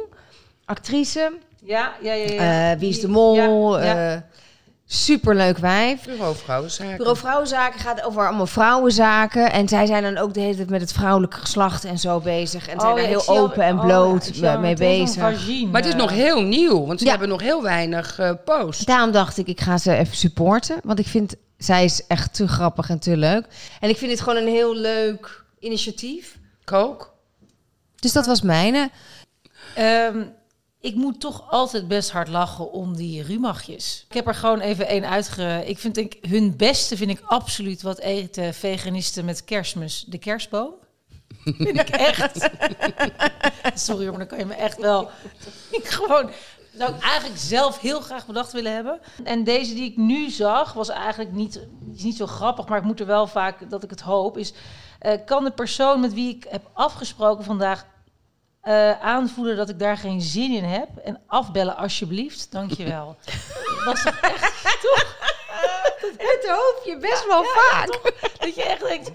Speaker 5: Actrice.
Speaker 4: ja, ja. ja, ja.
Speaker 5: eh, Wie is de mol?
Speaker 4: Ja, ja.
Speaker 5: eh, superleuk wijf.
Speaker 3: Bureau vrouwenzaken.
Speaker 5: Bureau Vrouwenzaken gaat over allemaal vrouwenzaken. En zij zijn dan ook de hele tijd met het vrouwelijke geslacht en zo bezig. En zijn daar
Speaker 4: Oh, ja, ik
Speaker 5: heel
Speaker 4: zie al-
Speaker 5: open en
Speaker 4: oh,
Speaker 5: bloot
Speaker 4: ik zie al
Speaker 5: mee
Speaker 4: meteen
Speaker 5: bezig.
Speaker 4: zo'n vagine.
Speaker 3: Maar het is nog heel nieuw, want ze
Speaker 5: Ja.
Speaker 3: hebben nog heel weinig eh posts.
Speaker 5: Daarom dacht ik, ik ga ze even supporten. Want ik vind, zij is echt te grappig en te leuk. En ik vind dit gewoon een heel leuk initiatief.
Speaker 3: Kook?
Speaker 5: Dus dat was mijne.
Speaker 4: Ehm, ik moet toch altijd best hard lachen om die rumachjes. Ik heb er gewoon even één uitge... Ik vind denk, hun beste vind ik absoluut wat eten veganisten met kerstmis. De kerstboom. Vind ik echt. Sorry hoor, maar dan kan je me echt wel... Ik gewoon... Zou ik eigenlijk zelf heel graag bedacht willen hebben. En deze die ik nu zag, was eigenlijk niet, is niet zo grappig, maar ik moet er wel vaak dat ik het hoop. Is eh, kan de persoon met wie ik heb afgesproken vandaag eh, aanvoelen dat ik daar geen zin in heb. En afbellen alsjeblieft. Dankjewel. Was toch echt
Speaker 5: Het hoop je best wel vaak.
Speaker 4: dat je echt denkt...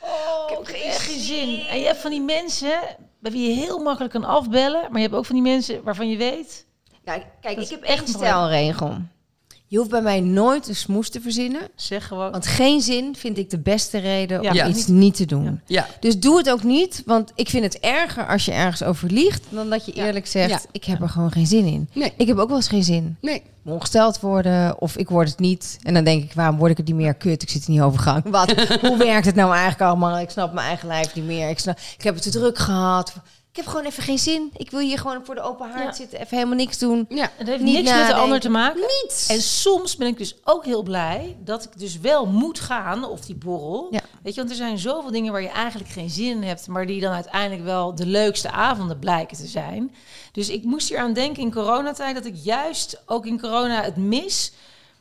Speaker 4: Oh, ik heb geen, geen zin. En je hebt van die mensen bij wie je heel makkelijk kan afbellen. Maar je hebt ook van die mensen waarvan je weet...
Speaker 5: Nou, kijk,
Speaker 4: Dat
Speaker 5: ik
Speaker 4: is
Speaker 5: heb
Speaker 4: echt
Speaker 5: echt een
Speaker 4: mooi.
Speaker 5: stijlregel. Je hoeft bij mij nooit een smoes te verzinnen.
Speaker 4: Zeg gewoon...
Speaker 5: Want geen zin vind ik de beste reden om
Speaker 4: Ja.
Speaker 5: iets niet te doen.
Speaker 4: Ja.
Speaker 3: Ja.
Speaker 5: Dus doe het ook niet, want ik vind het erger als je ergens over liegt dan dat je eerlijk zegt:
Speaker 3: Ja.
Speaker 5: ik heb er gewoon geen zin in.
Speaker 3: Nee.
Speaker 5: Ik heb ook wel eens geen zin.
Speaker 3: Nee.
Speaker 5: Ongesteld worden of ik word het niet. En dan denk ik: waarom word ik het niet meer? Kut, ik zit er niet over gang. Wat? Hoe werkt het nou eigenlijk allemaal? Ik snap mijn eigen lijf niet meer. Ik, snap, ik heb het te druk gehad. Ik heb gewoon even geen zin. Ik wil hier gewoon voor de open haard
Speaker 4: Ja.
Speaker 5: zitten, even helemaal niks doen.
Speaker 3: Ja.
Speaker 4: Het heeft
Speaker 5: Niet
Speaker 4: niks met de
Speaker 5: nadenken.
Speaker 4: ander te maken.
Speaker 5: Niets.
Speaker 4: En soms ben ik dus ook heel blij dat ik dus wel moet gaan, of die borrel.
Speaker 5: Ja.
Speaker 4: Weet je, want er zijn zoveel dingen waar je eigenlijk geen zin in hebt, maar die dan uiteindelijk wel de leukste avonden blijken te zijn. Dus ik moest hier aan denken in coronatijd, dat ik juist ook in corona het mis,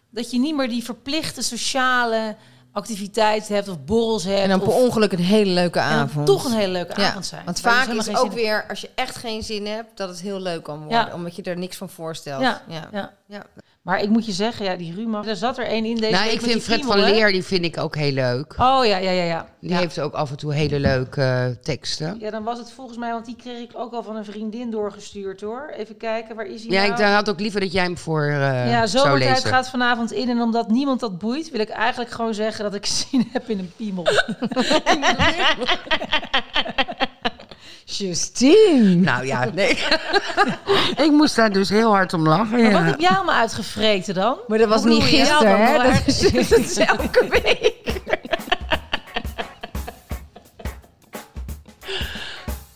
Speaker 4: dat je niet meer die verplichte sociale activiteiten hebt of borrels hebt.
Speaker 5: en dan
Speaker 4: of-
Speaker 5: per ongeluk een hele leuke
Speaker 4: en dan
Speaker 5: avond.
Speaker 4: toch een hele leuke
Speaker 5: Ja,
Speaker 4: avond zijn.
Speaker 5: Want
Speaker 4: waar je
Speaker 5: vaak
Speaker 4: dus
Speaker 5: is
Speaker 4: helemaal
Speaker 5: ook
Speaker 4: geen zin
Speaker 5: weer, als je echt geen zin hebt, dat het heel leuk kan worden.
Speaker 4: Ja.
Speaker 5: Omdat je er niks van voorstelt.
Speaker 4: in-
Speaker 5: Ja.
Speaker 4: Ja, ja. Maar ik moet je zeggen, ja, die Ruma, er zat er één in deze
Speaker 3: Nou,
Speaker 4: week
Speaker 3: ik
Speaker 4: met
Speaker 3: vind
Speaker 4: die
Speaker 3: Fred van
Speaker 4: friemel, hè?
Speaker 3: Leer, die vind ik ook heel leuk.
Speaker 4: Oh ja, ja, ja, ja.
Speaker 3: Die
Speaker 4: ja.
Speaker 3: heeft ook af en toe hele leuke eh, teksten.
Speaker 4: Ja, dan was het volgens mij, want die kreeg ik ook al van een vriendin doorgestuurd hoor. Even kijken, waar is hij
Speaker 3: Ja,
Speaker 4: nou?
Speaker 3: ik daar had ook liever dat jij hem voor eh
Speaker 4: ja,
Speaker 3: zou
Speaker 4: zomertijd
Speaker 3: lezen.
Speaker 4: gaat vanavond in en omdat niemand dat boeit, wil ik eigenlijk gewoon zeggen dat ik zin heb in een piemel.
Speaker 5: Justine.
Speaker 3: Nou ja, nee. ik moest daar dus heel hard om lachen.
Speaker 4: Maar wat
Speaker 3: Ja.
Speaker 4: heb jij allemaal uitgevreten dan?
Speaker 5: Maar dat was
Speaker 4: Wat bedoel
Speaker 5: niet
Speaker 4: je?
Speaker 5: gisteren,
Speaker 4: Ja,
Speaker 5: hè?
Speaker 4: dan
Speaker 5: Dat is, dat is elke week.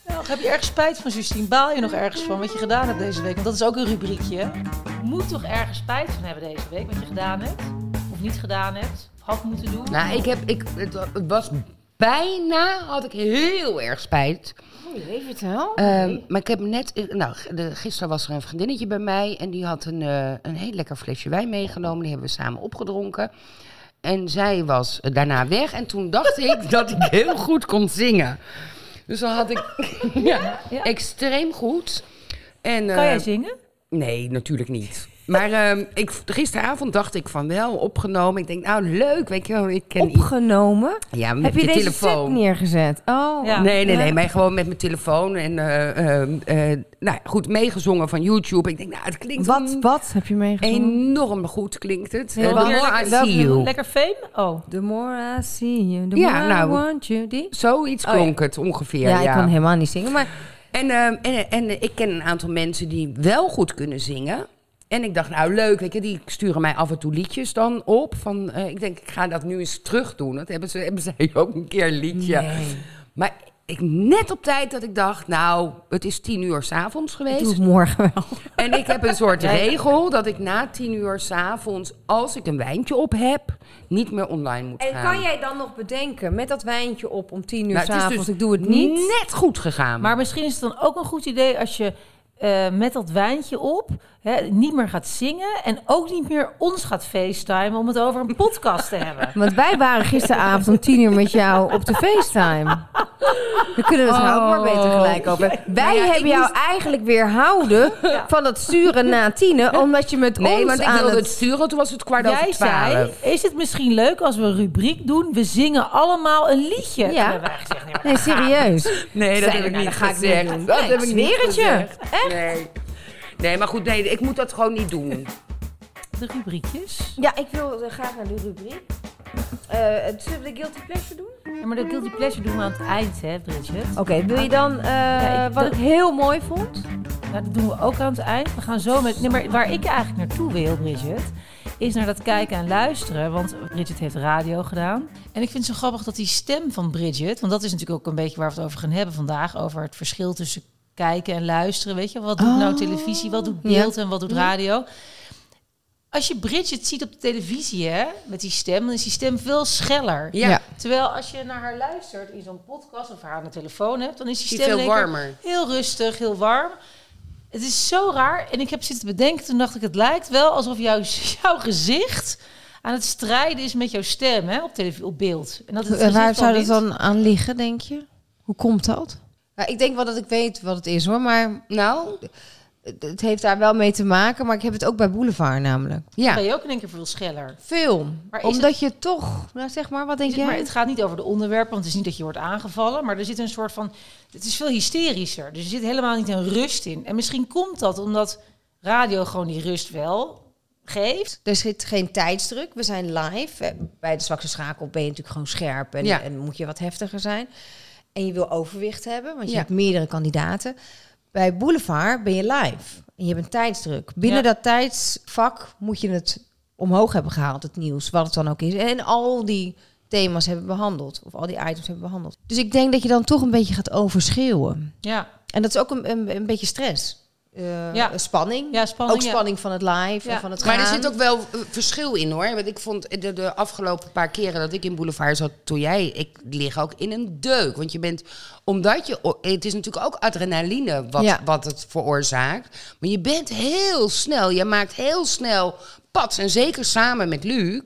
Speaker 4: Nou, Heb je erg spijt van, Justine? Baal je nog ergens van wat je gedaan hebt deze week? Want dat is ook een rubriekje. hè? Je moet toch ergens spijt van hebben deze week wat je gedaan hebt? Of niet gedaan hebt? Of had moeten doen?
Speaker 3: Nou, ik heb, ik, het, wa- het was bijna, had ik heel erg spijt.
Speaker 5: Even vertel.
Speaker 3: Ehm, maar ik heb net, ik- nou, g- de- gisteren was er een vriendinnetje bij mij en die had een, eh, een heel lekker flesje wijn meegenomen. Die hebben we samen opgedronken. En zij was eh, daarna weg en toen dacht ik dat ik heel goed kon zingen. Dus dan had ik ja, extreem goed. En,
Speaker 4: Kan jij
Speaker 3: eh,
Speaker 4: zingen?
Speaker 3: Nee, natuurlijk niet. Maar ehm, ik, gisteravond dacht ik van wel, opgenomen. Ik denk, nou leuk, weet je wel, ik ken i-
Speaker 6: Opgenomen?
Speaker 3: Ja, met
Speaker 6: Heb je
Speaker 3: je
Speaker 6: deze
Speaker 3: telefoon.
Speaker 6: set neergezet? Oh,
Speaker 4: Ja.
Speaker 3: Nee, nee,
Speaker 6: Ja.
Speaker 3: nee, maar gewoon met mijn telefoon en eh, ehm, eh, nou ja, goed meegezongen van YouTube. Ik denk, nou, het klinkt
Speaker 6: Wat, wat heb je meegezongen?
Speaker 3: enorm goed klinkt het.
Speaker 6: Heel
Speaker 3: Eh, the
Speaker 6: leuk.
Speaker 3: more I
Speaker 6: Welke-
Speaker 3: see you.
Speaker 4: Lekker fame? Oh.
Speaker 6: The more I see you, the
Speaker 3: Ja,
Speaker 6: more
Speaker 3: nou.
Speaker 6: I want you. Die?
Speaker 3: Zoiets
Speaker 6: Oh, ja.
Speaker 3: klonk het ongeveer.
Speaker 6: Ja,
Speaker 3: Ja,
Speaker 6: ik kan helemaal niet zingen, maar
Speaker 3: en, ehm, en, en ik ken een aantal mensen die wel goed kunnen zingen. En ik dacht, nou leuk, weet je, die sturen mij af en toe liedjes dan op. Van, eh, ik denk, ik ga dat nu eens terug doen. Dat hebben, ze, hebben zij ook een keer een liedje. Maar ik, net op tijd dat ik dacht, nou, het is tien uur s'avonds
Speaker 6: ik
Speaker 3: geweest.
Speaker 6: doe het morgen wel.
Speaker 3: En ik heb een soort regel dat ik na tien uur s'avonds, als ik een wijntje op heb, niet meer online moet gaan.
Speaker 6: En kan jij dan nog bedenken, met dat wijntje op om tien uur
Speaker 3: Nou, het is
Speaker 6: s'avonds,
Speaker 3: dus
Speaker 6: ik doe het niet?
Speaker 3: Net goed gegaan.
Speaker 4: Maar misschien is het dan ook een goed idee als je eh, met dat wijntje op hè, niet meer gaat zingen. En ook niet meer ons gaat facetimen om het over een podcast te hebben.
Speaker 6: Want wij waren gisteravond om tien uur met jou op de FaceTime. Dan kunnen we het nou ook maar beter gelijk over. Wij
Speaker 3: Oh. ja, ik
Speaker 6: hebben jou
Speaker 3: moest-
Speaker 6: eigenlijk weerhouden van dat sturen na tienen, omdat je met
Speaker 3: nee,
Speaker 6: ons
Speaker 3: want ik
Speaker 6: aan
Speaker 3: wilde het...
Speaker 6: het...
Speaker 3: sturen, toen was het kwart over
Speaker 4: Jij
Speaker 3: twaalf.
Speaker 4: zei, is het misschien leuk als we een rubriek doen? We zingen allemaal een liedje.
Speaker 6: Ja.
Speaker 4: Toen hebben wij gezegd, nee, maar
Speaker 6: Nee, serieus.
Speaker 3: Nee, dat
Speaker 6: Zei,
Speaker 3: heb ik
Speaker 6: nou,
Speaker 3: niet
Speaker 6: dat ga ik niet
Speaker 3: gezegd.
Speaker 6: doen.
Speaker 3: dat
Speaker 6: Nee,
Speaker 3: heb
Speaker 6: ik
Speaker 3: ik niet
Speaker 6: zweer het je.
Speaker 3: gezegd. Nee. nee, maar goed, nee, ik moet dat gewoon niet doen.
Speaker 4: de rubriekjes.
Speaker 6: Ja, ik wil eh, graag naar de rubriek. Eh, zullen we de guilty pleasure doen?
Speaker 4: Ja, maar dat guilty pleasure doen we aan het eind, hè, Bridget?
Speaker 6: Oké, wil je dan eh,
Speaker 4: ik-
Speaker 6: wat
Speaker 4: dat-
Speaker 6: ik heel mooi vond?
Speaker 4: Nou, dat doen we ook aan het eind. We gaan zo met. Nee, maar waar ik eigenlijk naartoe wil, Bridget, is naar dat kijken en luisteren. Want Bridget heeft radio gedaan. En ik vind het zo grappig dat die stem van Bridget. Want dat is natuurlijk ook een beetje waar we het over gaan hebben vandaag. Over het verschil tussen kijken en luisteren. Weet je, wat doet nou televisie? Wat doet beeld en wat doet radio? Als je Bridget ziet op de televisie, hè, met die stem, dan is die stem veel scheller.
Speaker 3: Ja,
Speaker 5: Ja.
Speaker 4: Terwijl als je naar haar luistert in zo'n podcast of haar aan de telefoon hebt, dan is die
Speaker 3: Die
Speaker 4: stem
Speaker 3: veel
Speaker 4: in één keer
Speaker 3: warmer.
Speaker 4: heel rustig, heel warm. Het is zo raar. En ik heb zitten bedenken, toen dacht ik, het lijkt wel alsof jouw, jouw gezicht aan het strijden is met jouw stem hè, op, televisie, op beeld. En dat het
Speaker 5: En
Speaker 4: gezicht
Speaker 5: Eh, waar
Speaker 4: van
Speaker 5: zou dat
Speaker 4: wint.
Speaker 5: dan aan liggen, denk je? Hoe komt dat? Nou, ik denk wel dat ik weet wat het is hoor, maar
Speaker 3: nou,
Speaker 5: het- het heeft daar wel mee te maken. Maar ik heb het ook bij Boulevard namelijk.
Speaker 3: ja.
Speaker 4: ben je ook in één keer veel scheller.
Speaker 5: Veel.
Speaker 4: Maar is
Speaker 5: Omdat je toch, nou zeg maar, wat denk
Speaker 4: Is het-
Speaker 5: jij?
Speaker 4: Maar het gaat niet over de onderwerpen, want het is niet dat je wordt aangevallen. Maar er zit een soort van. Het is veel hysterischer. Dus er zit helemaal niet een rust in. En misschien komt dat omdat radio gewoon die rust wel geeft.
Speaker 5: Er zit geen tijdsdruk. We zijn live. Eh, Bij de zwakste schakel ben je natuurlijk gewoon scherp en,
Speaker 3: Ja.
Speaker 5: en moet je wat heftiger zijn. En je wil overwicht hebben, want je
Speaker 3: Ja.
Speaker 5: hebt meerdere kandidaten. Bij Boulevard ben je live en je hebt een tijdsdruk. Binnen
Speaker 4: Ja.
Speaker 5: dat tijdsvak moet je het omhoog hebben gehaald, het nieuws, wat het dan ook is. En al die thema's hebben behandeld, of al die items hebben behandeld. Dus ik denk dat je dan toch een beetje gaat overschreeuwen.
Speaker 4: Ja,
Speaker 5: En dat is ook een, een, een beetje stress. Eh,
Speaker 4: Ja.
Speaker 5: Spanning.
Speaker 4: ja spanning.
Speaker 5: ook
Speaker 4: ja.
Speaker 5: spanning van het live
Speaker 4: Ja.
Speaker 5: en van het
Speaker 3: Maar er
Speaker 5: gaan.
Speaker 3: zit ook wel eh, verschil in hoor. Want ik vond de, de afgelopen paar keren dat ik in Boulevard zat, toen jij, ik lig ook in een deuk. Want je bent, omdat je, o- het is natuurlijk ook adrenaline wat,
Speaker 5: Ja.
Speaker 3: wat het veroorzaakt. Maar je bent heel snel, je maakt heel snel pats. En zeker samen met Luc.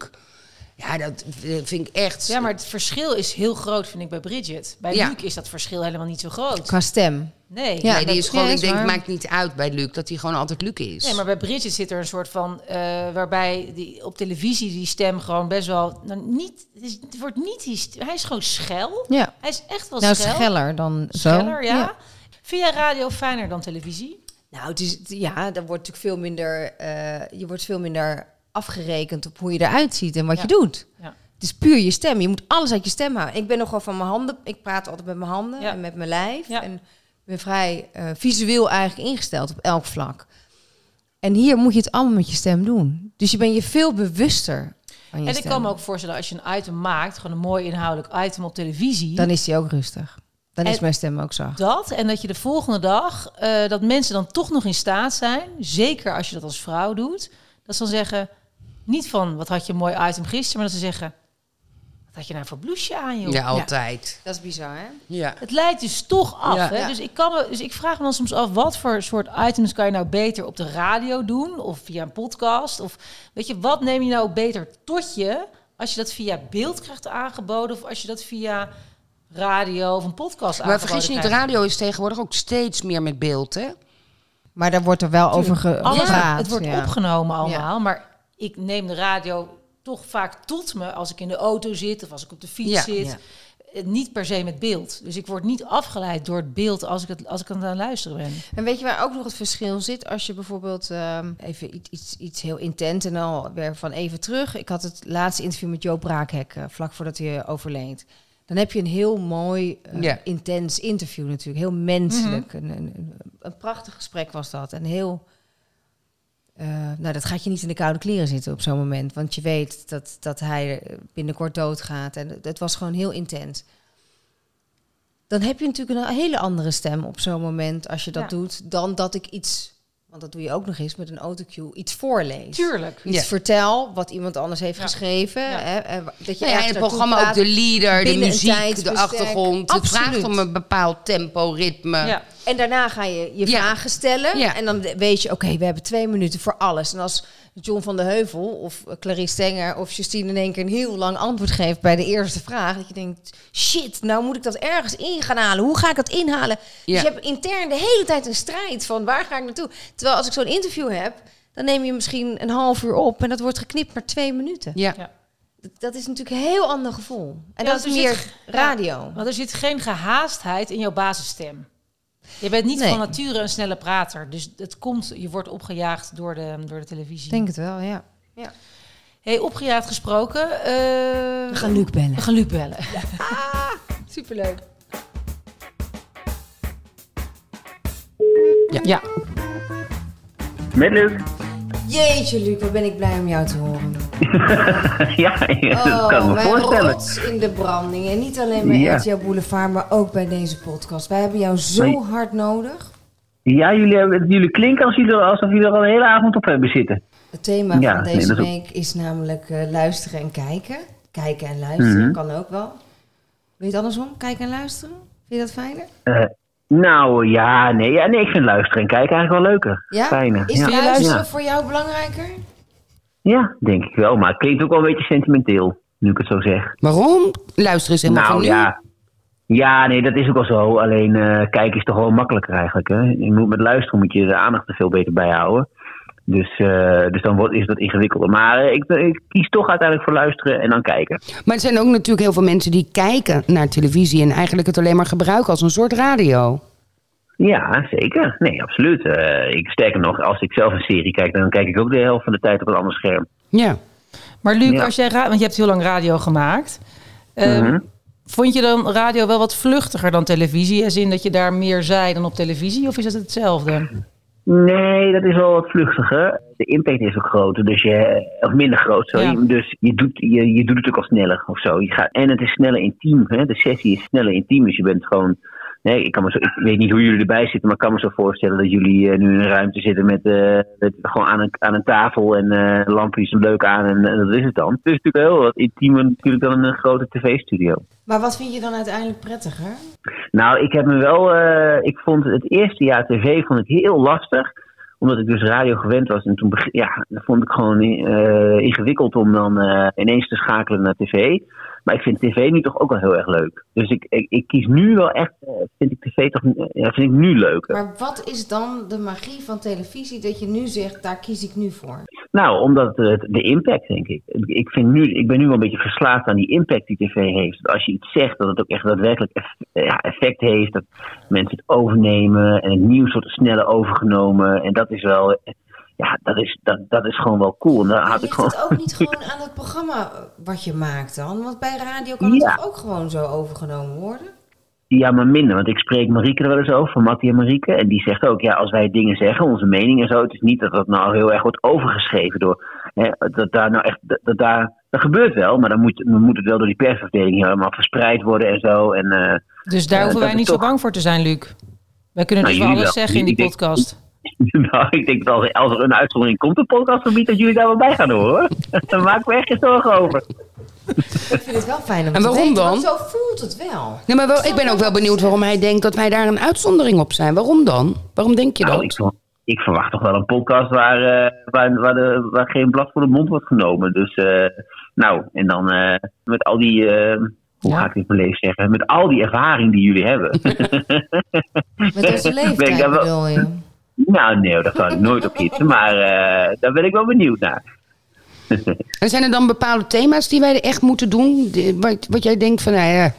Speaker 3: Ja, dat eh, vind ik echt.
Speaker 4: Ja, maar het verschil is heel groot, vind ik, bij Bridget. Bij
Speaker 3: Ja.
Speaker 4: Luc is dat verschil helemaal niet zo groot.
Speaker 5: Qua stem.
Speaker 4: Nee.
Speaker 5: Ja,
Speaker 3: Nee, die
Speaker 5: dat-
Speaker 3: is gewoon,
Speaker 5: ja,
Speaker 3: ik
Speaker 5: is
Speaker 3: denk,
Speaker 5: waar.
Speaker 3: maakt niet uit bij Luc dat hij gewoon altijd Luc is.
Speaker 4: Nee, maar bij Bridget zit er een soort van, eh, waarbij die, op televisie die stem gewoon best wel, nou, niet, het is- het wordt niet, hyst- hij is gewoon schel.
Speaker 5: Ja.
Speaker 4: Hij is echt wel
Speaker 5: Nou,
Speaker 4: schel.
Speaker 5: scheller dan zo.
Speaker 4: Scheller, ja. Vind jij radio fijner dan televisie?
Speaker 5: Nou, het is, het- ja, dan wordt natuurlijk veel minder, eh, je wordt veel minder afgerekend op hoe je eruit ziet en wat
Speaker 4: Ja.
Speaker 5: je doet.
Speaker 4: Ja.
Speaker 5: Het is puur je stem. Je moet alles uit je stem houden. Ik ben nogal van mijn handen. Ik praat altijd met mijn handen
Speaker 4: Ja.
Speaker 5: en met mijn lijf.
Speaker 4: Ja.
Speaker 5: En ik ben vrij eh, visueel eigenlijk ingesteld op elk vlak. En hier moet je het allemaal met je stem doen. Dus je bent je veel bewuster van je
Speaker 4: en ik
Speaker 5: stem.
Speaker 4: kan me ook voorstellen, als je een item maakt, gewoon een mooi inhoudelijk item op televisie,
Speaker 5: Dan is die ook rustig. Dan is
Speaker 4: En-
Speaker 5: mijn stem ook zacht.
Speaker 4: Dat en dat je de volgende dag, eh, dat mensen dan toch nog in staat zijn, zeker als je dat als vrouw doet, dat ze dan zeggen, niet van wat had je een mooi item gisteren, maar dat ze zeggen, wat had je nou voor blouseje aan joh.
Speaker 3: Ja, altijd.
Speaker 5: Dat is bizar, hè?
Speaker 3: Ja.
Speaker 4: Het leidt dus toch af.
Speaker 3: Ja.
Speaker 4: Hè?
Speaker 5: Ja.
Speaker 4: Dus, ik kan me, dus ik vraag me dan soms af, wat voor soort items kan je nou beter op de radio doen? Of via een podcast? Of weet je, wat neem je nou beter tot je als je dat via beeld krijgt aangeboden? Of als je dat via radio of een podcast
Speaker 3: Maar
Speaker 4: aangeboden
Speaker 3: vergis je niet,
Speaker 4: krijgt?
Speaker 3: radio is tegenwoordig ook steeds meer met beeld, hè?
Speaker 5: Maar daar wordt er wel over ge-
Speaker 4: Alles,
Speaker 5: gepraat.
Speaker 4: Het wordt
Speaker 5: ja.
Speaker 4: opgenomen allemaal, maar ik neem de radio toch vaak tot me als ik in de auto zit of als ik op de fiets
Speaker 3: Ja,
Speaker 4: zit.
Speaker 3: ja.
Speaker 4: Eh, Niet per se met beeld. Dus ik word niet afgeleid door het beeld als ik, het, als ik aan het luisteren ben.
Speaker 5: En weet je waar ook nog het verschil zit? Als je bijvoorbeeld ehm, even iets, iets, iets heel intent en al weer van even terug. Ik had het laatste interview met Joop Braakhek, eh, vlak voordat hij eh, overleed. Dan heb je een heel mooi, eh,
Speaker 3: Ja.
Speaker 5: intens interview natuurlijk. Heel menselijk. Een, een, een, een prachtig gesprek was dat. En heel... eh, nou, dat gaat je niet in de koude kleren zitten op zo'n moment. Want je weet dat, dat hij eh, binnenkort doodgaat. En het- het was gewoon heel intens dan heb je natuurlijk een hele andere stem op zo'n moment als je dat
Speaker 4: Ja.
Speaker 5: doet, dan dat ik iets, want dat doe je ook nog eens met een autocue, iets voorlees.
Speaker 4: Tuurlijk.
Speaker 5: Iets
Speaker 3: Ja.
Speaker 5: vertel wat iemand anders heeft
Speaker 4: Ja.
Speaker 5: geschreven.
Speaker 4: Ja.
Speaker 5: Hè, eh, wa- dat je ergens
Speaker 3: Nou ja, in het
Speaker 5: naartoe
Speaker 3: programma ook
Speaker 5: praat.
Speaker 3: de leader, de
Speaker 5: binnen een
Speaker 3: muziek, de
Speaker 5: tijdsbestek.
Speaker 3: achtergrond. Het vraagt
Speaker 5: Absoluut.
Speaker 3: om een bepaald tempo, ritme.
Speaker 4: Ja.
Speaker 5: En daarna ga je je
Speaker 3: Ja.
Speaker 5: vragen stellen.
Speaker 3: Ja.
Speaker 5: En dan weet je, oké, we hebben twee minuten voor alles. En als John van de Heuvel of eh, Clarice Stenger of Justine in één keer een heel lang antwoord geeft bij de eerste vraag. Dat je denkt, shit, nou moet ik dat ergens in gaan halen. Hoe ga ik dat inhalen?
Speaker 3: Ja.
Speaker 5: Dus je hebt intern de hele tijd een strijd van waar ga ik naartoe. Terwijl als ik zo'n interview heb, dan neem je misschien een half uur op. En dat wordt geknipt naar twee minuten.
Speaker 3: Ja.
Speaker 4: Ja.
Speaker 5: Dat- Dat is natuurlijk een heel ander gevoel. En
Speaker 4: Ja,
Speaker 5: dat
Speaker 4: dus
Speaker 5: is
Speaker 4: er
Speaker 5: meer
Speaker 4: zit-
Speaker 5: radio.
Speaker 4: Want er zit geen gehaastheid in jouw basisstem. Je bent niet
Speaker 5: Nee.
Speaker 4: van nature een snelle prater. Dus het komt, je wordt opgejaagd door de, door de televisie.
Speaker 5: Ik denk het wel, ja.
Speaker 4: Hey, opgejaagd gesproken. eh,
Speaker 6: We gaan Luc bellen.
Speaker 4: we gaan Luc bellen.
Speaker 5: Superleuk.
Speaker 3: Ja.
Speaker 7: Met Luc?
Speaker 5: Jeetje, Luc, wat ben ik blij om jou te horen.
Speaker 7: ja, dat kan ik me
Speaker 5: Oh, mijn
Speaker 7: voorstellen.
Speaker 5: rots in de branding. En niet alleen bij
Speaker 7: Ja.
Speaker 5: RTL Boulevard, maar ook bij deze podcast. Wij hebben jou zo
Speaker 7: Nee.
Speaker 5: hard nodig.
Speaker 7: Ja, jullie, hebben, jullie klinken als jullie, alsof jullie er al de hele avond op hebben zitten.
Speaker 5: Het thema
Speaker 7: Ja,
Speaker 5: van
Speaker 7: nee,
Speaker 5: deze
Speaker 7: dat is ook-
Speaker 5: week is namelijk eh, luisteren en kijken. Kijken en luisteren
Speaker 7: Mhm.
Speaker 5: kan ook wel. Wil je het andersom? Kijken en luisteren? Vind je dat fijner?
Speaker 7: Eh, nou ja nee, ja, nee, ik vind luisteren en kijken eigenlijk wel leuker.
Speaker 5: Ja?
Speaker 7: Fijner.
Speaker 5: Is
Speaker 7: ja.
Speaker 5: luisteren
Speaker 7: Ja.
Speaker 5: voor jou belangrijker?
Speaker 7: Ja, denk ik wel. Maar het klinkt ook wel een beetje sentimenteel, nu ik het zo zeg.
Speaker 3: Waarom? Luister eens helemaal
Speaker 7: nou
Speaker 3: van nu.
Speaker 7: ja. Ja, nee, dat is ook wel zo. Alleen eh, kijken is toch wel makkelijker eigenlijk. Hè? Je moet, met luisteren moet je de aandacht er veel beter bij houden. Dus, eh, dus dan wordt, is dat ingewikkelder. Maar eh, ik, ik kies toch uiteindelijk voor luisteren en dan kijken.
Speaker 3: Maar er zijn ook natuurlijk heel veel mensen die kijken naar televisie... en eigenlijk het alleen maar gebruiken als een soort radio.
Speaker 7: Ja, zeker. Nee, absoluut. Eh, ik, sterker nog, als ik zelf een serie kijk, dan kijk ik ook de helft van de tijd op een ander scherm.
Speaker 3: Ja.
Speaker 4: Maar Luc,
Speaker 7: Ja. Mhm.
Speaker 4: als jij ra- want je hebt heel lang radio gemaakt. Ehm, Vond je dan radio wel wat vluchtiger dan televisie? Als in dat je daar meer zei dan op televisie? Of is dat hetzelfde?
Speaker 7: Nee, dat is wel wat vluchtiger. De impact is ook groter, dus je, of minder groot. Sorry.
Speaker 4: Ja.
Speaker 7: Dus je doet, je, je doet het ook al sneller of zo. Je gaat, en het is sneller intiem. Hè? De sessie is sneller intiem, dus je bent gewoon. Nee, ik, kan me zo, ik weet niet hoe jullie erbij zitten, maar ik kan me zo voorstellen dat jullie eh, nu in een ruimte zitten met, eh, met gewoon aan een, aan een tafel en eh lampjes leuk aan en, eh, dat is het dan. Het is natuurlijk heel wat intiemer natuurlijk dan een eh, grote tv-studio.
Speaker 5: Maar wat vind je dan uiteindelijk prettiger?
Speaker 7: Nou, ik heb me wel. eh, ik vond het eerste jaar tv vond ik heel lastig. Omdat ik dus radio gewend was. En toen beg- ja, dat vond ik gewoon eh, ingewikkeld om dan eh, ineens te schakelen naar tv. Maar ik vind tv nu toch ook wel heel erg leuk. Dus ik, ik, ik kies nu wel echt. eh, vind ik tv toch. ja, vind ik nu leuker.
Speaker 5: Maar wat is dan de magie van televisie dat je nu zegt, daar kies ik nu voor?
Speaker 7: Nou, omdat het, de impact, denk ik. Ik, vind nu, ik ben nu wel een beetje verslaafd aan die impact die tv heeft. Dat Als je iets zegt, dat het ook echt daadwerkelijk eff- ja, effect heeft. Dat mensen het overnemen en het nieuws wordt sneller overgenomen. En dat is wel, ja, dat is, dat, dat is gewoon wel cool. En daar
Speaker 5: Maar
Speaker 7: had ik
Speaker 5: ligt
Speaker 7: gewoon...
Speaker 5: het ook niet gewoon aan het programma eh, wat je maakt dan? Want bij radio kan het
Speaker 7: Ja.
Speaker 5: toch ook gewoon zo overgenomen worden?
Speaker 7: Ja, maar minder. Want ik spreek Marieke er wel eens over, van Mattie en Marieke. En die zegt ook, ja, als wij dingen zeggen, onze mening en zo. Het is niet dat dat nou heel erg wordt overgeschreven door hè, dat daar nou echt, dat, dat daar, dat gebeurt wel, maar dan moet, dan moet het wel door die persafdeling helemaal verspreid worden en zo. En, eh,
Speaker 4: Dus daar
Speaker 7: Eh,
Speaker 4: hoeven wij
Speaker 7: dat is
Speaker 4: niet zo
Speaker 7: toch-
Speaker 4: bang voor te zijn, Luc. Wij kunnen
Speaker 7: Nou,
Speaker 4: dus wel
Speaker 7: jullie
Speaker 4: alles
Speaker 7: wel.
Speaker 4: zeggen in die
Speaker 7: Ik denk-
Speaker 4: podcast.
Speaker 7: nou, ik denk dat als, als er een uitzondering komt op podcastgebied, dat jullie daar wel bij gaan horen. hoor. daar maken we echt geen zorgen over.
Speaker 5: Ik vind het wel fijn om
Speaker 3: En
Speaker 5: te
Speaker 3: waarom
Speaker 5: weten, want
Speaker 3: dan?
Speaker 5: Zo voelt het wel.
Speaker 3: Nee, maar wel, ik ben ook wel benieuwd waarom hij denkt dat wij daar een uitzondering op zijn. Waarom dan? Waarom denk je
Speaker 7: Nou, ik,
Speaker 3: dat?
Speaker 7: ver- ik verwacht toch wel een podcast waar, eh, waar, waar, de, waar geen blad voor de mond wordt genomen. Dus, eh, nou, en dan eh, met al die, eh, hoe
Speaker 4: Ja.
Speaker 7: ga ik dit beleefd zeggen, met al die ervaring die jullie hebben.
Speaker 5: Met onze
Speaker 7: Ben ik
Speaker 5: leeftijd
Speaker 7: daar wel-
Speaker 5: bedoel je.
Speaker 7: nou, nee, daar kan ik nooit op kiezen, maar eh, daar ben ik wel benieuwd naar.
Speaker 3: En zijn er dan bepaalde thema's die wij echt moeten doen? Die- Wat, wat jij denkt van, nou ja,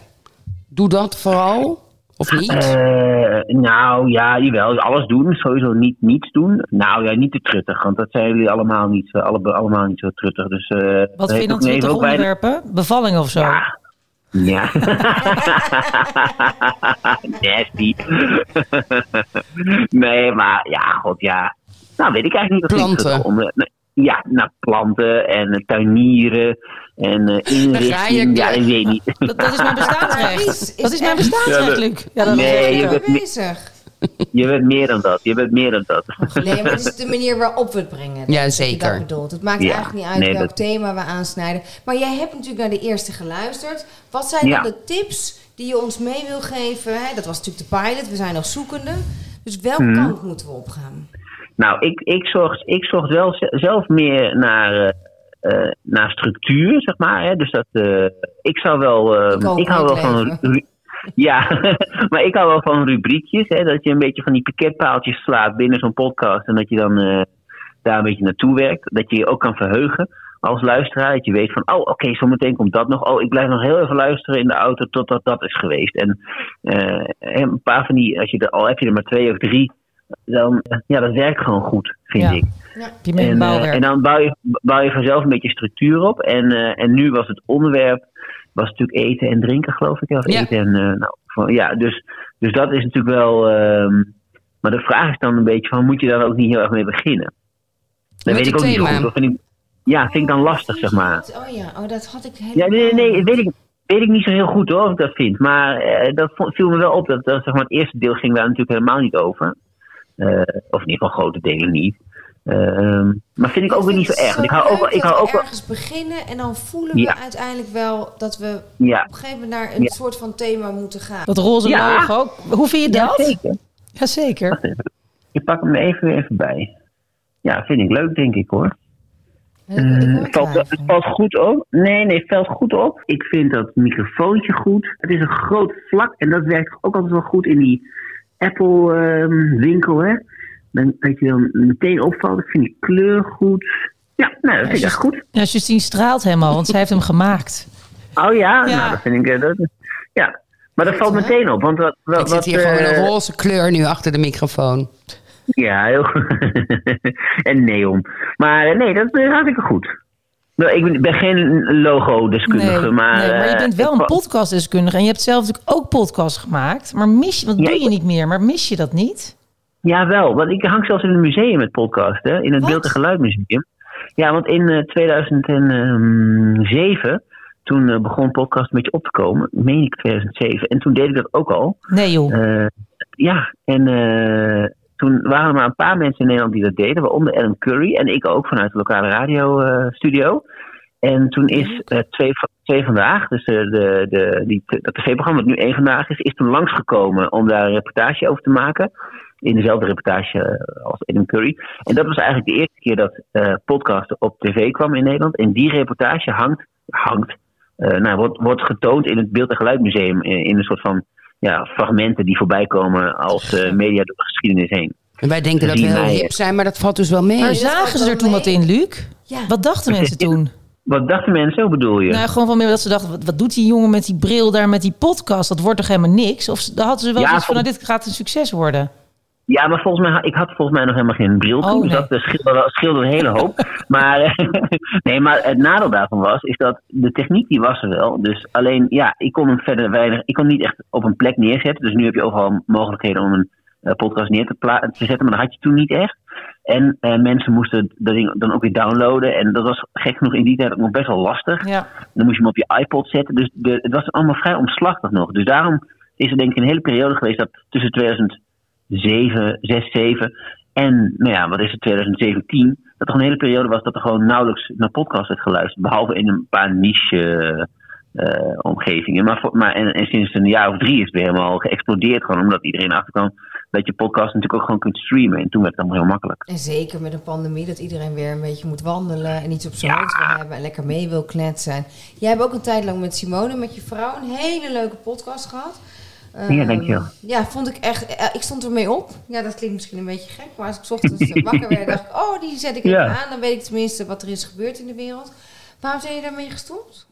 Speaker 3: doe dat vooral. Of niet?
Speaker 7: Eh, nou ja, jawel, alles doen, sowieso niet niets doen. Nou ja, niet te truttig, want dat zijn jullie allemaal niet, eh, alle, allemaal niet zo truttig. Dus, eh, dat
Speaker 4: Wat
Speaker 7: heeft
Speaker 4: vind je dan
Speaker 7: ook- nee, heeft
Speaker 4: 20
Speaker 7: ook weinig-
Speaker 4: onderwerpen? Bevalling of zo?
Speaker 7: Ja. Nasty. nee, maar ja, god ja. Nou, weet ik eigenlijk niet. of
Speaker 3: Planten.
Speaker 7: ik het om- nee, Ja, nou, planten en eh, tuinieren en eh
Speaker 3: ik
Speaker 7: inrichting. Ja,
Speaker 3: weer.
Speaker 7: ik weet niet.
Speaker 4: Dat, dat is mijn bestaansrecht. Dat Ah, is
Speaker 5: echt-
Speaker 4: mijn
Speaker 7: Ja,
Speaker 4: bestaansrecht,
Speaker 7: dat-
Speaker 4: Luc. Ja, dat
Speaker 7: Nee,
Speaker 4: is
Speaker 7: je
Speaker 4: het.
Speaker 7: bent-
Speaker 5: Bezig.
Speaker 7: Je bent meer dan dat. Je bent meer dan dat.
Speaker 5: Nee, maar het is de manier waarop we het brengen.
Speaker 3: Ja,
Speaker 5: Dat je
Speaker 3: zeker.
Speaker 5: Dat bedoelt. Het maakt
Speaker 7: Ja,
Speaker 5: eigenlijk niet uit
Speaker 7: nee,
Speaker 5: welk
Speaker 7: dat-
Speaker 5: thema we aansnijden. Maar jij hebt natuurlijk naar de eerste geluisterd. Wat zijn
Speaker 7: Ja.
Speaker 5: dan de tips die je ons mee wil geven? Hè? Dat was natuurlijk de pilot, we zijn nog zoekende. Dus welke
Speaker 7: Mhm.
Speaker 5: kant moeten we opgaan?
Speaker 7: Nou, ik, ik, zocht, ik zocht wel z- zelf meer naar, eh, eh, naar structuur, zeg maar. Hè? Dus dat, eh, ik zou wel. eh,
Speaker 5: Ik ook,
Speaker 7: ik hou wel
Speaker 5: mijn
Speaker 7: van.
Speaker 5: leven.
Speaker 7: ru- Ja, maar ik hou wel van rubriekjes. Hè? Dat je een beetje van die piketpaaltjes slaat binnen zo'n podcast. En dat je dan eh, daar een beetje naartoe werkt. Dat je je ook kan verheugen als luisteraar. Dat je weet van, oh oké, zometeen komt dat nog. Oh, ik blijf nog heel even luisteren in de auto totdat dat is geweest. En eh, een paar van die, als je er, al heb je er maar twee of drie dan, eh, ja, dat werkt gewoon goed, vind
Speaker 4: Ja.
Speaker 7: ik.
Speaker 4: Je bent
Speaker 7: En,
Speaker 4: een
Speaker 7: eh,
Speaker 4: bouwwerk.
Speaker 7: en dan bouw je, bouw je vanzelf een beetje structuur op. En, eh, en nu was het onderwerp, was natuurlijk eten en drinken, geloof ik. hè? Of
Speaker 3: Ja.
Speaker 7: eten en, eh, nou, van- ja, dus, dus dat is natuurlijk wel... ehm, maar de vraag is dan een beetje van, moet je daar ook niet heel erg mee beginnen? Dat
Speaker 3: Met
Speaker 7: weet
Speaker 3: het
Speaker 7: ik ook niet
Speaker 3: thema.
Speaker 7: goed. Dat vind ik, ja, vind ik dan lastig, zeg maar.
Speaker 5: Oh ja, oh, dat had ik
Speaker 7: Ja,
Speaker 5: helemaal.
Speaker 7: nee, nee, nee, weet ik, weet ik niet zo heel goed hoor, of ik dat vind. Maar eh, dat vo- viel me wel op. Dat, dat, zeg maar, het eerste deel ging daar natuurlijk helemaal niet over. Eh, of in ieder geval grote delen niet. Ehm, maar vind ik ook weer niet zo erg. want Ik hou ook, wel- ik hou ook, wel-
Speaker 5: ergens beginnen en dan voelen we
Speaker 7: Ja.
Speaker 5: uiteindelijk wel dat we
Speaker 7: ja,
Speaker 5: op een gegeven moment naar een
Speaker 7: Ja.
Speaker 5: soort van thema moeten gaan.
Speaker 4: Dat roze
Speaker 7: Ja.
Speaker 4: logo. ook. Hoe vind je
Speaker 7: ja,
Speaker 4: dat?
Speaker 7: zeker.
Speaker 4: Jazeker.
Speaker 7: Ik pak hem er even, even bij. Ja, vind ik leuk, denk ik hoor.
Speaker 5: Dat wil ik wel
Speaker 7: Het Eh, valt,
Speaker 5: twijfelen.
Speaker 7: het valt goed op. Nee, nee, het valt goed op. Ik vind dat microfoontje goed. Het is een groot vlak en dat werkt ook altijd wel goed in die Apple-winkel, hè. Dan, dat je dan meteen opvalt. Ik vind die kleur goed. Ja, nou, dat vind ik echt goed.
Speaker 4: Ja, Justine straalt helemaal, want zij heeft hem gemaakt.
Speaker 7: Oh ja,
Speaker 4: Ja.
Speaker 7: nou, dat vind ik... eh, Dat, ja, maar dat valt meteen op. Want wat, wat,
Speaker 3: Ik zit hier
Speaker 7: wat,
Speaker 3: gewoon
Speaker 7: eh,
Speaker 3: een roze kleur nu achter de microfoon.
Speaker 7: Ja, heel goed. en neon. Maar eh, nee, dat is hartstikke goed. Nou, Ik ben- ben geen logo-deskundige,
Speaker 4: nee,
Speaker 7: maar...
Speaker 4: nee, maar je
Speaker 7: eh,
Speaker 4: bent wel
Speaker 7: ik
Speaker 4: een
Speaker 7: val-
Speaker 4: podcastdeskundige. En je hebt zelf natuurlijk ook podcasts gemaakt. Maar mis, wat
Speaker 7: Ja,
Speaker 4: doe
Speaker 7: ik-
Speaker 4: je niet meer? Maar mis je dat niet?
Speaker 7: Jawel, want ik hang zelfs in een museum met podcast, hè? in het Beeld- en Geluidmuseum. Ja, want in eh, 2007, toen eh, begon podcast een beetje op te komen, meen ik 2007. En toen deed ik dat ook al.
Speaker 4: Nee joh.
Speaker 7: Eh, ja, en eh, toen waren er maar een paar mensen in Nederland die dat deden, waaronder Adam Curry en ik ook vanuit de lokale eh, radiostudio. en toen is eh, twee, Va- twee vandaag, dus eh, de, de, die, dat tv-programma dat nu één vandaag is, is toen langsgekomen om daar een reportage over te maken. In dezelfde reportage eh, als Adam Curry. En dat was eigenlijk de eerste keer dat eh podcast op tv kwam in Nederland. En die reportage hangt, hangt eh, nou, wordt, wordt getoond in het Beeld- en Geluidmuseum. In, in een soort van ja, fragmenten die voorbij komen als eh, media door de geschiedenis heen.
Speaker 3: En wij denken dat we
Speaker 7: Zie
Speaker 3: heel
Speaker 7: mij, eh.
Speaker 3: hip zijn, maar dat valt dus wel mee.
Speaker 4: maar
Speaker 5: dat
Speaker 4: zagen
Speaker 5: valt
Speaker 4: ze
Speaker 5: wel
Speaker 4: er toen
Speaker 5: mee.
Speaker 4: wat in, Luc?
Speaker 5: Ja.
Speaker 4: Wat dachten mensen toen?
Speaker 7: Wat dachten mensen, hoe bedoel je?
Speaker 4: Nou, gewoon van meer dat ze dachten, wat, wat doet die jongen met die bril daar met die podcast? Dat wordt toch helemaal niks? Of ze- hadden ze wel
Speaker 7: Ja,
Speaker 4: zoiets van,
Speaker 7: vol-
Speaker 4: nou, dit gaat een succes worden?
Speaker 7: Ja, maar volgens mij, ha- ik had volgens mij nog helemaal geen bril
Speaker 4: Oh,
Speaker 7: toen. Dus
Speaker 4: nee.
Speaker 7: dat eh, scheelde, scheelde een hele hoop. maar, eh, nee, maar het nadeel daarvan was, is dat de techniek die was er wel. Dus alleen, ja, ik kon hem verder weinig, ik kon hem niet echt op een plek neerzetten. Dus nu heb je overal mogelijkheden om een eh, podcast neer te, pla- te zetten, maar dat had je toen niet echt. En eh, mensen moesten dat ding dan ook weer downloaden. En dat was gek genoeg in die tijd ook nog best wel lastig.
Speaker 4: Ja.
Speaker 7: Dan moest je hem op je iPod zetten. Dus de, het was allemaal vrij omslachtig nog. Dus daarom is er denk ik een hele periode geweest dat tussen 2007, 6, 7 en nou ja, wat is het, 2017, dat er een hele periode was dat er gewoon nauwelijks naar podcast werd geluisterd. Behalve in een paar niche eh, eh, omgevingen. Maar, voor- maar en, en sinds een jaar of drie is het weer helemaal geëxplodeerd. Gewoon omdat iedereen achterkwam dat je podcast natuurlijk ook gewoon kunt streamen. En toen werd het allemaal heel makkelijk.
Speaker 5: En zeker met een pandemie dat iedereen weer een beetje moet wandelen en iets op zijn hoofd wil hebben en lekker mee wil kletsen. Jij hebt ook een tijd lang met Simone, met je vrouw, een hele leuke podcast gehad.
Speaker 7: Ja, dankjewel.
Speaker 5: Ehm, Ja, vond ik echt. eh, Ik stond ermee op. Ja, dat klinkt misschien een beetje gek, maar als ik 's ochtends eh, wakker werd, dacht ik, oh, die zet ik even
Speaker 7: Ja.
Speaker 5: aan. Dan weet ik tenminste wat er is gebeurd in de wereld. Waarom zijn je daarmee gestopt?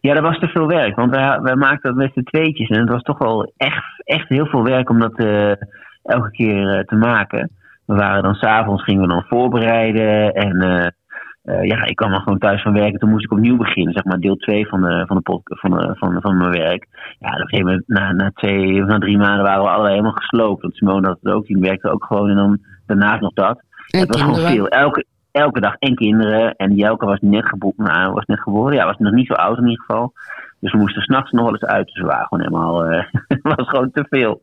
Speaker 7: Ja, dat was te veel werk. Want wij, wij maakten dat met z'n tweetjes. En het was toch wel echt, echt heel veel werk om dat eh, elke keer eh, te maken. We waren dan s'avonds, gingen we dan voorbereiden. En eh, eh, ja, ik kwam dan gewoon thuis van werken. Toen moest ik opnieuw beginnen, zeg maar deel 2 van, de, van, de pod- van, de, van, van mijn werk. Ja, op een gegeven moment, na, na twee of na drie maanden waren we allebei helemaal gesloopt. Want Simone had het ook, die werkte ook gewoon. En dan daarnaast nog dat.
Speaker 3: En
Speaker 7: Het was gewoon
Speaker 3: kinderen.
Speaker 7: veel. Elke, elke dag en kinderen. En Jelke was net, gebo nou, was net geboren. Ja, was nog niet zo oud in ieder geval. Dus we moesten s'nachts nog wel eens uit. Dus we waren gewoon helemaal... eh, Het was gewoon te veel.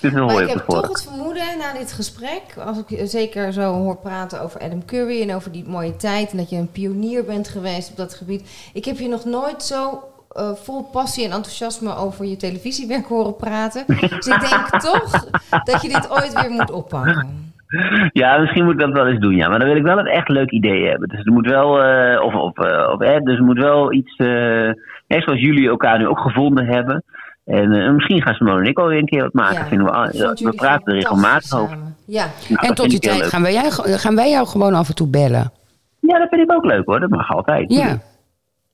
Speaker 7: Te veel
Speaker 5: Maar
Speaker 7: hooi
Speaker 5: ik
Speaker 7: op de
Speaker 5: heb toch
Speaker 7: vork.
Speaker 5: het vermoeden na dit gesprek, als ik je zeker zo hoor praten over Adam Curry en over die mooie tijd en dat je een pionier bent geweest op dat gebied. Ik heb je nog nooit zo eh, vol passie en enthousiasme over je televisiewerk horen praten. Dus ik denk toch dat je dit ooit weer moet oppakken.
Speaker 7: Ja, misschien moet ik dat wel eens doen, ja. Maar dan wil ik wel een echt leuk idee hebben. Dus er moet wel... eh, of, of, eh, of, eh, dus er moet wel iets... eh, net zoals jullie elkaar nu ook gevonden hebben. En eh, misschien gaan Simone en ik alweer een keer wat maken.
Speaker 5: Ja,
Speaker 7: Vinden we, al-
Speaker 5: ik vond
Speaker 7: we
Speaker 5: jullie
Speaker 7: praten er regelmatig
Speaker 5: fantastisch
Speaker 7: over.
Speaker 5: samen. Ja,
Speaker 7: Nou,
Speaker 3: en
Speaker 7: dat
Speaker 3: tot
Speaker 7: vind
Speaker 3: die
Speaker 7: ik heel
Speaker 3: tijd
Speaker 7: leuk.
Speaker 3: gaan wij, jou, gaan wij jou gewoon af en toe bellen.
Speaker 7: Ja, dat vind ik ook leuk hoor. Dat mag altijd.
Speaker 3: Ja.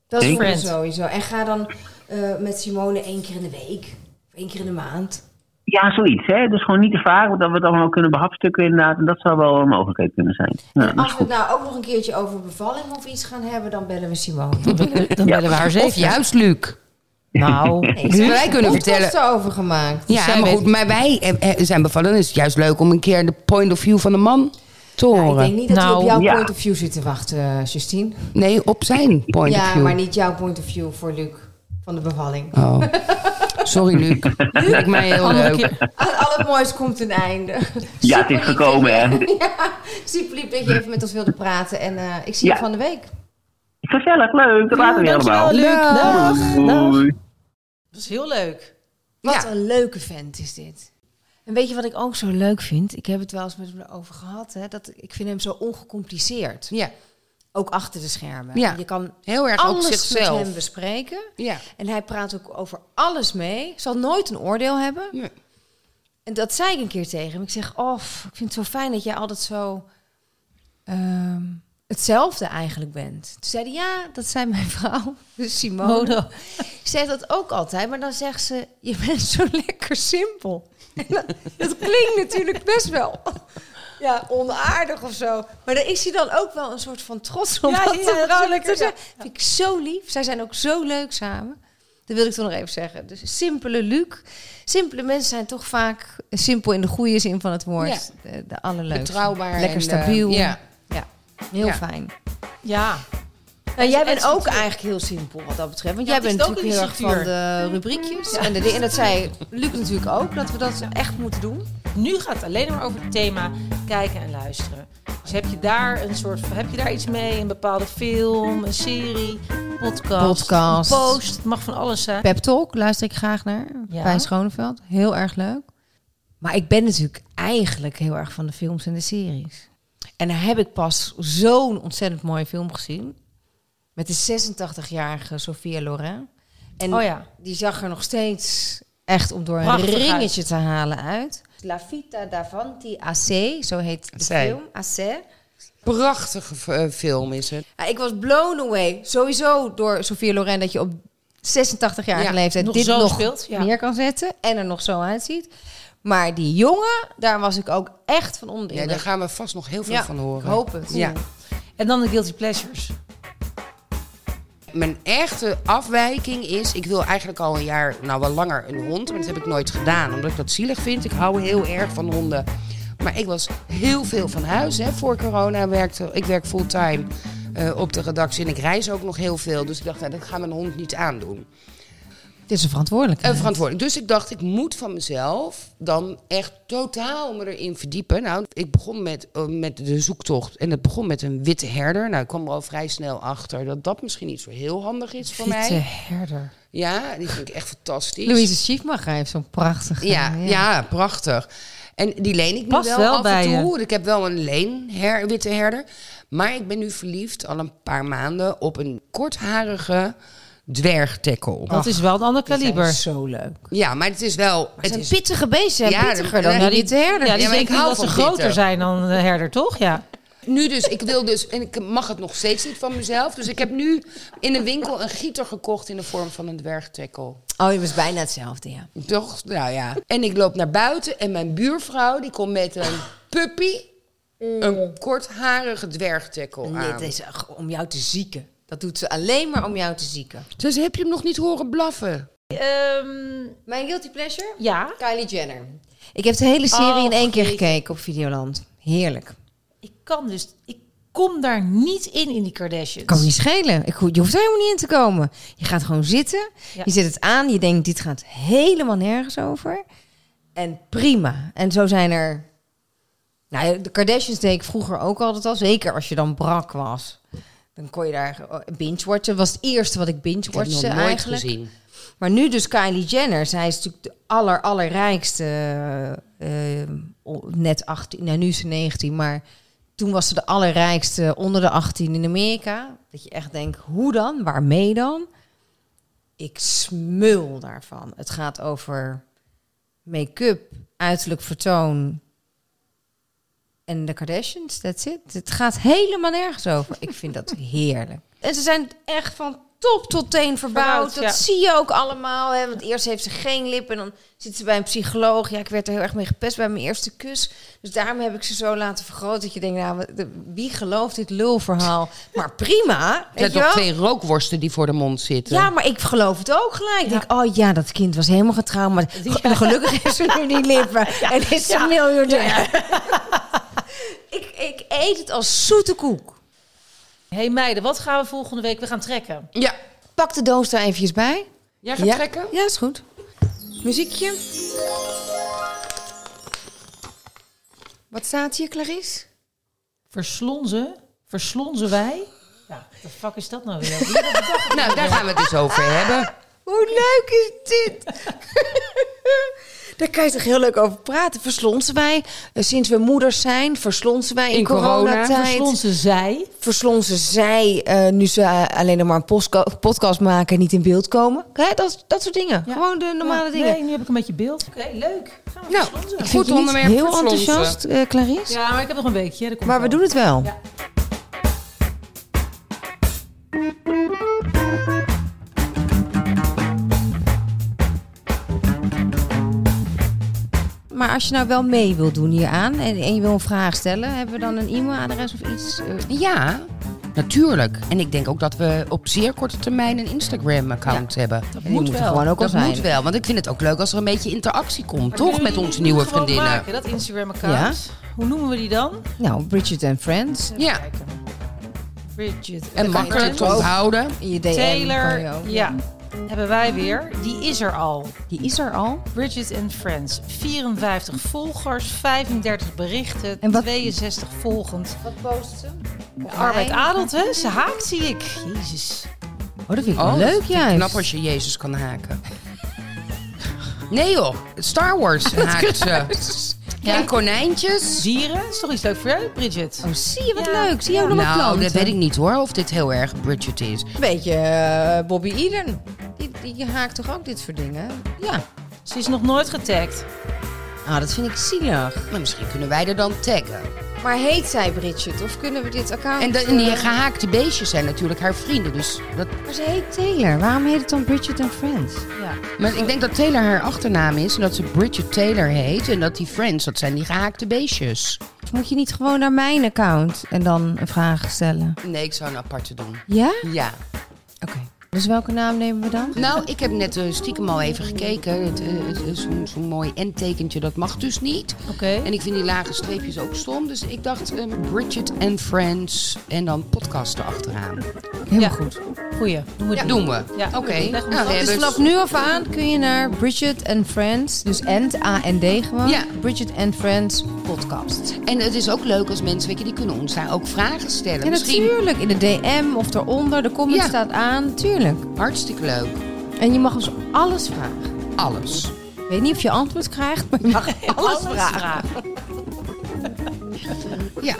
Speaker 5: dat
Speaker 7: Zeker.
Speaker 5: is sowieso. En ga dan eh, met Simone één keer in de week, of één keer in de maand.
Speaker 7: Ja, zoiets. Hè? Dus gewoon niet te vaak, want dat we het allemaal kunnen behapstukken inderdaad. En dat zou wel een mogelijkheid kunnen zijn. Ja, dat is
Speaker 5: Als we
Speaker 7: goed.
Speaker 5: het nou ook nog een keertje over bevalling of iets gaan hebben, dan bellen we Simone.
Speaker 4: Dan bellen we haar
Speaker 3: Of
Speaker 4: zeven.
Speaker 3: juist, Luc.
Speaker 4: Nou,
Speaker 5: Nee, ze hebben
Speaker 3: Wij
Speaker 5: er
Speaker 3: kunnen
Speaker 5: podcasts
Speaker 3: vertellen-
Speaker 5: over gemaakt.
Speaker 3: Ja,
Speaker 4: zij
Speaker 3: maar
Speaker 4: weet-
Speaker 3: goed, maar wij eh, eh, zijn bevallen. Dan is het juist leuk om een keer de point of view van de man te
Speaker 5: ik
Speaker 3: horen.
Speaker 5: denk niet dat
Speaker 4: Nou,
Speaker 5: we op jouw
Speaker 7: ja.
Speaker 5: point of view zitten wachten, eh, Justine.
Speaker 3: Nee, op zijn point
Speaker 5: ja,
Speaker 3: of view.
Speaker 5: maar niet jouw point of view voor Luc van de bevalling.
Speaker 3: Oh. Sorry, Luc. Lijkt mij heel
Speaker 4: Andere
Speaker 3: leuk.
Speaker 4: keer.
Speaker 5: Aan al het moois komt een einde.
Speaker 7: ja, het
Speaker 5: Super
Speaker 7: is
Speaker 5: lief
Speaker 7: gekomen hè.
Speaker 5: dat je- ja, super lief dat je even met ons wilde praten. En eh, ik zie je
Speaker 7: Ja.
Speaker 5: van de week.
Speaker 7: Gezellig, leuk. Dat laten we weer allemaal.
Speaker 4: Nou, Dankjewel, Luc. Dag. Dag.
Speaker 7: Doei.
Speaker 4: Dat is heel leuk.
Speaker 5: Wat
Speaker 3: Ja.
Speaker 5: een leuke vent is dit. En weet je wat ik ook zo leuk vind? Ik heb het wel eens met hem over gehad. Hè, dat ik vind hem zo ongecompliceerd.
Speaker 3: Ja,
Speaker 5: Ook achter de schermen.
Speaker 3: Ja.
Speaker 5: Je kan
Speaker 3: heel erg op
Speaker 5: alles
Speaker 3: zichzelf.
Speaker 5: met hem bespreken.
Speaker 3: Ja.
Speaker 5: En hij praat ook over alles mee. Zal nooit een oordeel hebben.
Speaker 3: Nee.
Speaker 5: En dat zei ik een keer tegen hem. Ik zeg, oh, ik vind het zo fijn dat jij altijd zo ehm, hetzelfde eigenlijk bent. Toen zei hij, ja, dat zei mijn vrouw, dus Simone.
Speaker 4: Modo.
Speaker 5: Ze zegt dat ook altijd, maar dan zegt ze: Je bent zo lekker simpel. En dat, dat klinkt natuurlijk best wel ja, onaardig of zo. Maar daar is hij dan ook wel een soort van trots op.
Speaker 4: Ja,
Speaker 5: wat
Speaker 4: ja,
Speaker 5: de
Speaker 4: dat is
Speaker 5: vrouw lekker
Speaker 4: wel lekker,
Speaker 5: zegt.
Speaker 4: ja.
Speaker 5: Vind ik zo lief. Zij zijn ook zo leuk samen. Dat wil ik toch nog even zeggen. Dus simpele Luc. Simpele mensen zijn toch vaak simpel in de goede zin van het woord. De, de allerleukste.
Speaker 3: Betrouwbaar
Speaker 5: Lekker
Speaker 3: en, eh,
Speaker 5: stabiel.
Speaker 3: ja.
Speaker 5: Ja, heel
Speaker 3: Ja.
Speaker 5: fijn.
Speaker 4: Ja.
Speaker 5: Nou, jij bent
Speaker 4: Ed
Speaker 5: ook
Speaker 4: is natuurlijk-
Speaker 5: eigenlijk heel simpel wat dat betreft. Want
Speaker 4: Ja,
Speaker 5: jij
Speaker 4: het is
Speaker 5: bent
Speaker 4: ook
Speaker 5: natuurlijk heel
Speaker 4: een
Speaker 5: erg van de rubriekjes. En, de, en dat zei Luc natuurlijk ook, dat we dat echt moeten doen.
Speaker 4: Nu gaat het alleen maar over het thema kijken en luisteren. Dus heb je daar een soort van, heb je daar iets mee? Een bepaalde film, een serie, podcast,
Speaker 5: Podcast.
Speaker 4: een post. Het mag van alles zijn.
Speaker 5: Pep Talk luister ik graag naar
Speaker 4: Ja.
Speaker 5: bij Schoneveld. Heel erg leuk. Maar ik ben natuurlijk eigenlijk heel erg van de films en de series. En daar heb ik pas zo'n ontzettend mooie film gezien. Met de 86-jarige Sophia Loren. En
Speaker 4: Oh ja.
Speaker 5: die zag er nog steeds echt om door een
Speaker 4: Prachtig uit.
Speaker 5: ringetje te halen uit. La Vita d'Avanti AC, zo heet de
Speaker 3: Zij.
Speaker 5: film. AC.
Speaker 3: Prachtige eh, film is het.
Speaker 5: Ja, ik was blown away. Sowieso door Sophia Loren dat je op 86-jarige
Speaker 3: Ja,
Speaker 5: leeftijd
Speaker 4: nog
Speaker 5: dit
Speaker 4: zo
Speaker 5: nog
Speaker 4: speelt, ja.
Speaker 5: neer kan zetten. En er nog zo uitziet. Maar die jongen, daar was ik ook echt van onder de
Speaker 3: Ja, daar
Speaker 5: indruk.
Speaker 3: gaan we vast nog heel veel
Speaker 5: Ja,
Speaker 3: van horen.
Speaker 5: ik hoop het.
Speaker 3: Ja.
Speaker 4: En dan de guilty pleasures.
Speaker 3: Mijn echte afwijking is, ik wil eigenlijk al een jaar, nou wel langer, een hond. Maar dat heb ik nooit gedaan, omdat ik dat zielig vind. Ik hou heel erg van honden. Maar ik was heel veel van huis. Hè. Voor corona werkte ik werk fulltime eh, op de redactie. En ik reis ook nog heel veel. Dus ik dacht, nou, dat gaat mijn hond niet aandoen.
Speaker 5: Dit is een verantwoordelijke.
Speaker 3: En verantwoordelijk. Dus ik dacht, ik moet van mezelf dan echt totaal me erin verdiepen. Nou, ik begon met, eh, met de zoektocht. En het begon met een witte herder. Nou, ik kwam er al vrij snel achter dat dat misschien niet zo heel handig is voor
Speaker 5: Witte
Speaker 3: mij.
Speaker 5: herder.
Speaker 3: Ja, die vind ik echt fantastisch.
Speaker 5: Louise Schiefmacher heeft zo'n prachtige.
Speaker 3: Ja, ja, prachtig. En die leen ik nu
Speaker 4: Past
Speaker 3: wel,
Speaker 4: wel
Speaker 3: af
Speaker 4: bij je.
Speaker 3: en toe. Ik heb wel een leenher, witte herder. Maar ik ben nu verliefd al een paar maanden op een kortharige dwergtekkel.
Speaker 4: Dat is wel een ander kaliber.
Speaker 6: Zo leuk.
Speaker 3: Ja, maar het is wel... Het
Speaker 5: Een
Speaker 3: is,
Speaker 5: pittige beesten,
Speaker 3: Ja,
Speaker 5: ja, pittiger
Speaker 3: dan-
Speaker 5: dan
Speaker 3: ja,
Speaker 5: die witte herder.
Speaker 4: Ja, die
Speaker 3: Ja, maar ik
Speaker 4: denken
Speaker 3: hou
Speaker 4: dat ze
Speaker 3: van
Speaker 4: groter
Speaker 3: bitter.
Speaker 4: zijn dan de herder, toch? Ja.
Speaker 3: nu dus, ik wil dus... En ik mag het nog steeds niet van mezelf. Dus ik heb nu in een winkel een gieter gekocht in de vorm van een dwergtekkel.
Speaker 6: Oh, je was bijna hetzelfde, ja.
Speaker 3: Toch? Nou ja. En ik loop naar buiten en mijn buurvrouw die komt met een puppy, een kortharige dwergtekkel
Speaker 6: Nee, het
Speaker 3: aan.
Speaker 5: eh,
Speaker 6: is ach, om jou te zieken. Dat doet ze alleen maar om jou te zieken.
Speaker 3: Dus heb je hem nog niet horen blaffen?
Speaker 4: Ehm,
Speaker 5: Mijn guilty pleasure?
Speaker 4: ja.
Speaker 5: Kylie Jenner. Ik heb de hele serie
Speaker 4: Oh,
Speaker 5: in één keer
Speaker 4: jeetje.
Speaker 5: gekeken op Videoland. Heerlijk.
Speaker 4: Ik kan dus... Ik kom daar niet in, in die Kardashians.
Speaker 5: Kan niet schelen. Ik, je hoeft er helemaal niet in te komen. Je gaat gewoon zitten.
Speaker 4: Ja.
Speaker 5: Je zet het aan. Je denkt, dit gaat helemaal nergens over. En prima. En zo zijn er... Nou, ja, de Kardashians deed ik vroeger ook altijd al. Zeker als je dan brak was. Dan kon je daar eh, binge-watchen. Dat was het eerste wat ik
Speaker 3: Ik heb het nog
Speaker 5: binge-watchte
Speaker 3: nooit
Speaker 5: eigenlijk.
Speaker 3: gezien.
Speaker 5: Maar nu dus Kylie Jenner. Zij is natuurlijk de aller, allerrijkste. eh, eh, o- net 18, nou nu is ze 19, maar toen was ze de allerrijkste onder de 18 in Amerika. Dat je echt denkt, hoe dan? Waarmee dan? Ik smul daarvan. Het gaat over make-up, uiterlijk vertoon en de Kardashians. That's it. Het gaat helemaal nergens over. Ik vind dat heerlijk. En ze zijn echt van top tot teen verbouwd.
Speaker 4: Verbouwd,
Speaker 5: dat
Speaker 4: ja.
Speaker 5: zie je ook allemaal. Hè? Want eerst heeft ze geen lip en dan zit ze bij een psycholoog. Ja, ik werd er heel erg mee gepest bij mijn eerste kus. Dus daarom heb ik ze zo laten vergroten. Dat je denkt, nou, wat- de- wie gelooft dit lulverhaal? Maar prima.
Speaker 3: Er
Speaker 5: weet je
Speaker 3: zijn toch
Speaker 5: wel?
Speaker 3: twee rookworsten die voor de mond zitten?
Speaker 5: Ja, maar ik geloof het ook gelijk. Ik denk, oh ja, dat kind was helemaal getrouwd. Maar gelukkig heeft ze nu die lippen. En is ze miljardair. ik, ik eet het als zoete koek.
Speaker 4: hey meiden, wat gaan we volgende week? We gaan trekken.
Speaker 3: Ja.
Speaker 5: Pak de doos daar eventjes bij.
Speaker 3: Jij gaat
Speaker 5: ja.
Speaker 3: trekken?
Speaker 5: Ja, is goed. Muziekje. Wat staat hier, Clarice?
Speaker 4: Verslonzen? Verslonzen wij? Ja, de fuck is dat nou weer? Wie dat bedacht?
Speaker 3: Nou, daar gaan we het dus over hebben.
Speaker 5: Hoe leuk is dit? Daar kan je toch heel leuk over praten. Verslonsen wij, eh, sinds we moeders zijn, verslonsen wij in,
Speaker 3: In corona,
Speaker 5: coronatijd.
Speaker 4: Verslonzen zij?
Speaker 5: verslonsen zij eh, nu ze eh, alleen nog maar een postka- podcast maken en niet in beeld komen. Hè, dat, dat soort dingen.
Speaker 4: Ja.
Speaker 5: Gewoon de normale
Speaker 4: Ja,
Speaker 5: dingen.
Speaker 4: Nee, nu heb ik een beetje beeld. Oké, leuk. Gaan we
Speaker 3: Nou,
Speaker 4: verslonzen.
Speaker 3: ik
Speaker 5: Vind
Speaker 3: Goed
Speaker 5: je niet
Speaker 3: onderwerp
Speaker 5: Heel
Speaker 3: verslonsen.
Speaker 5: enthousiast, eh, Clarice.
Speaker 4: Ja, maar ik heb nog een weekje. dat komt
Speaker 5: Maar we
Speaker 4: wel.
Speaker 5: doen het wel.
Speaker 4: Ja.
Speaker 5: Maar als je nou wel mee wil doen hieraan en, en je wil een vraag stellen, hebben we dan een e-mailadres of iets? eh,
Speaker 3: Ja, natuurlijk. En ik denk ook dat we op zeer korte termijn een Instagram-account hebben.
Speaker 4: Dat
Speaker 5: die
Speaker 4: moet
Speaker 5: moeten
Speaker 4: wel.
Speaker 5: gewoon ook al
Speaker 3: Dat
Speaker 5: zijn.
Speaker 3: moet wel, want ik vind het ook leuk als er een beetje interactie komt,
Speaker 4: Maar
Speaker 3: toch?
Speaker 4: jullie
Speaker 3: Met onze nieuwe
Speaker 4: moeten gewoon
Speaker 3: vriendinnen.
Speaker 4: Maken, dat Instagram-account. Hoe noemen we die dan?
Speaker 5: Nou, Bridget and Friends.
Speaker 3: Ja.
Speaker 4: Kijken. Bridget.
Speaker 3: En makkelijk te
Speaker 4: Taylor.
Speaker 3: onthouden.
Speaker 5: In je DM kan je
Speaker 4: Taylor.
Speaker 5: ook.
Speaker 4: Ja. Hebben wij weer. Die is er al.
Speaker 5: Die is er al.
Speaker 4: Bridget and Friends. 54 volgers, 35 berichten,
Speaker 5: En wat-
Speaker 4: 62 volgend.
Speaker 5: Wat post ze?
Speaker 4: Arbeid adelt, hè? Ze haakt, zie ik. Jezus.
Speaker 5: Oh, dat vind ik wel
Speaker 3: Oh, dat
Speaker 5: leuk
Speaker 3: vind ik
Speaker 5: juist.
Speaker 3: Knap als je Jezus kan haken. Nee joh, Star Wars haakt ze. En konijntjes.
Speaker 4: Dieren, is toch iets leuk voor jou, Bridget?
Speaker 5: Oh, zie je wat
Speaker 4: Ja.
Speaker 5: leuk. Zie je ook nog wat
Speaker 3: Nou,
Speaker 5: planten?
Speaker 3: dat weet ik niet hoor, of dit heel erg Bridget is.
Speaker 5: Een beetje eh, Bobby Eden. Die, die haakt toch ook dit soort dingen? Ja.
Speaker 4: Ze is nog nooit getagd.
Speaker 5: Ah, dat vind ik zielig.
Speaker 3: Maar misschien kunnen wij er dan taggen.
Speaker 5: Maar heet zij Bridget? Of kunnen we dit account...
Speaker 3: En, de- en die
Speaker 5: eh,
Speaker 3: gehaakte beestjes zijn natuurlijk haar vrienden. Dus dat,
Speaker 5: Maar ze heet Taylor. Waarom heet het dan Bridget and Friends?
Speaker 4: Ja.
Speaker 3: maar ik denk dat Taylor haar achternaam is en dat ze Bridget Taylor heet. En dat die friends, dat zijn die gehaakte beestjes.
Speaker 5: Of moet je niet gewoon naar mijn account en dan een vraag stellen?
Speaker 3: Nee, ik zou een aparte doen.
Speaker 5: Ja?
Speaker 3: Ja.
Speaker 5: Oké. Dus welke naam nemen we dan?
Speaker 3: Nou, ik heb net eh, stiekem al even gekeken. Het, eh, het, eh, Zo'n zo'n mooi endtekentje, dat mag dus niet.
Speaker 4: Oké.
Speaker 3: En ik vind die lage streepjes ook stom. Dus ik dacht eh, Bridget and Friends en dan podcast erachteraan.
Speaker 5: Helemaal
Speaker 4: Ja.
Speaker 5: goed.
Speaker 4: Goeie. Doen we.
Speaker 3: Ja,
Speaker 4: die.
Speaker 3: doen we.
Speaker 4: Ja.
Speaker 3: Oké.
Speaker 4: Leg hem
Speaker 3: Nou,
Speaker 4: vast.
Speaker 3: we
Speaker 5: Dus
Speaker 3: hebben-
Speaker 5: vanaf nu af aan kun je naar Bridget and Friends, dus and, A-N-D gewoon.
Speaker 3: Ja.
Speaker 5: Bridget and Friends podcast.
Speaker 3: En het is ook leuk als mensen, weet je, die kunnen ons daar ook vragen stellen.
Speaker 5: Ja,
Speaker 3: Misschien
Speaker 5: natuurlijk. In de DM of daaronder. De comment
Speaker 3: Ja.
Speaker 5: staat aan. Tuurlijk.
Speaker 3: hartstikke leuk.
Speaker 5: En je mag ons alles vragen.
Speaker 3: Alles.
Speaker 5: Ik weet niet of je antwoord krijgt, maar je mag alles,
Speaker 4: Alles
Speaker 5: vragen.
Speaker 4: vragen.
Speaker 3: Ja.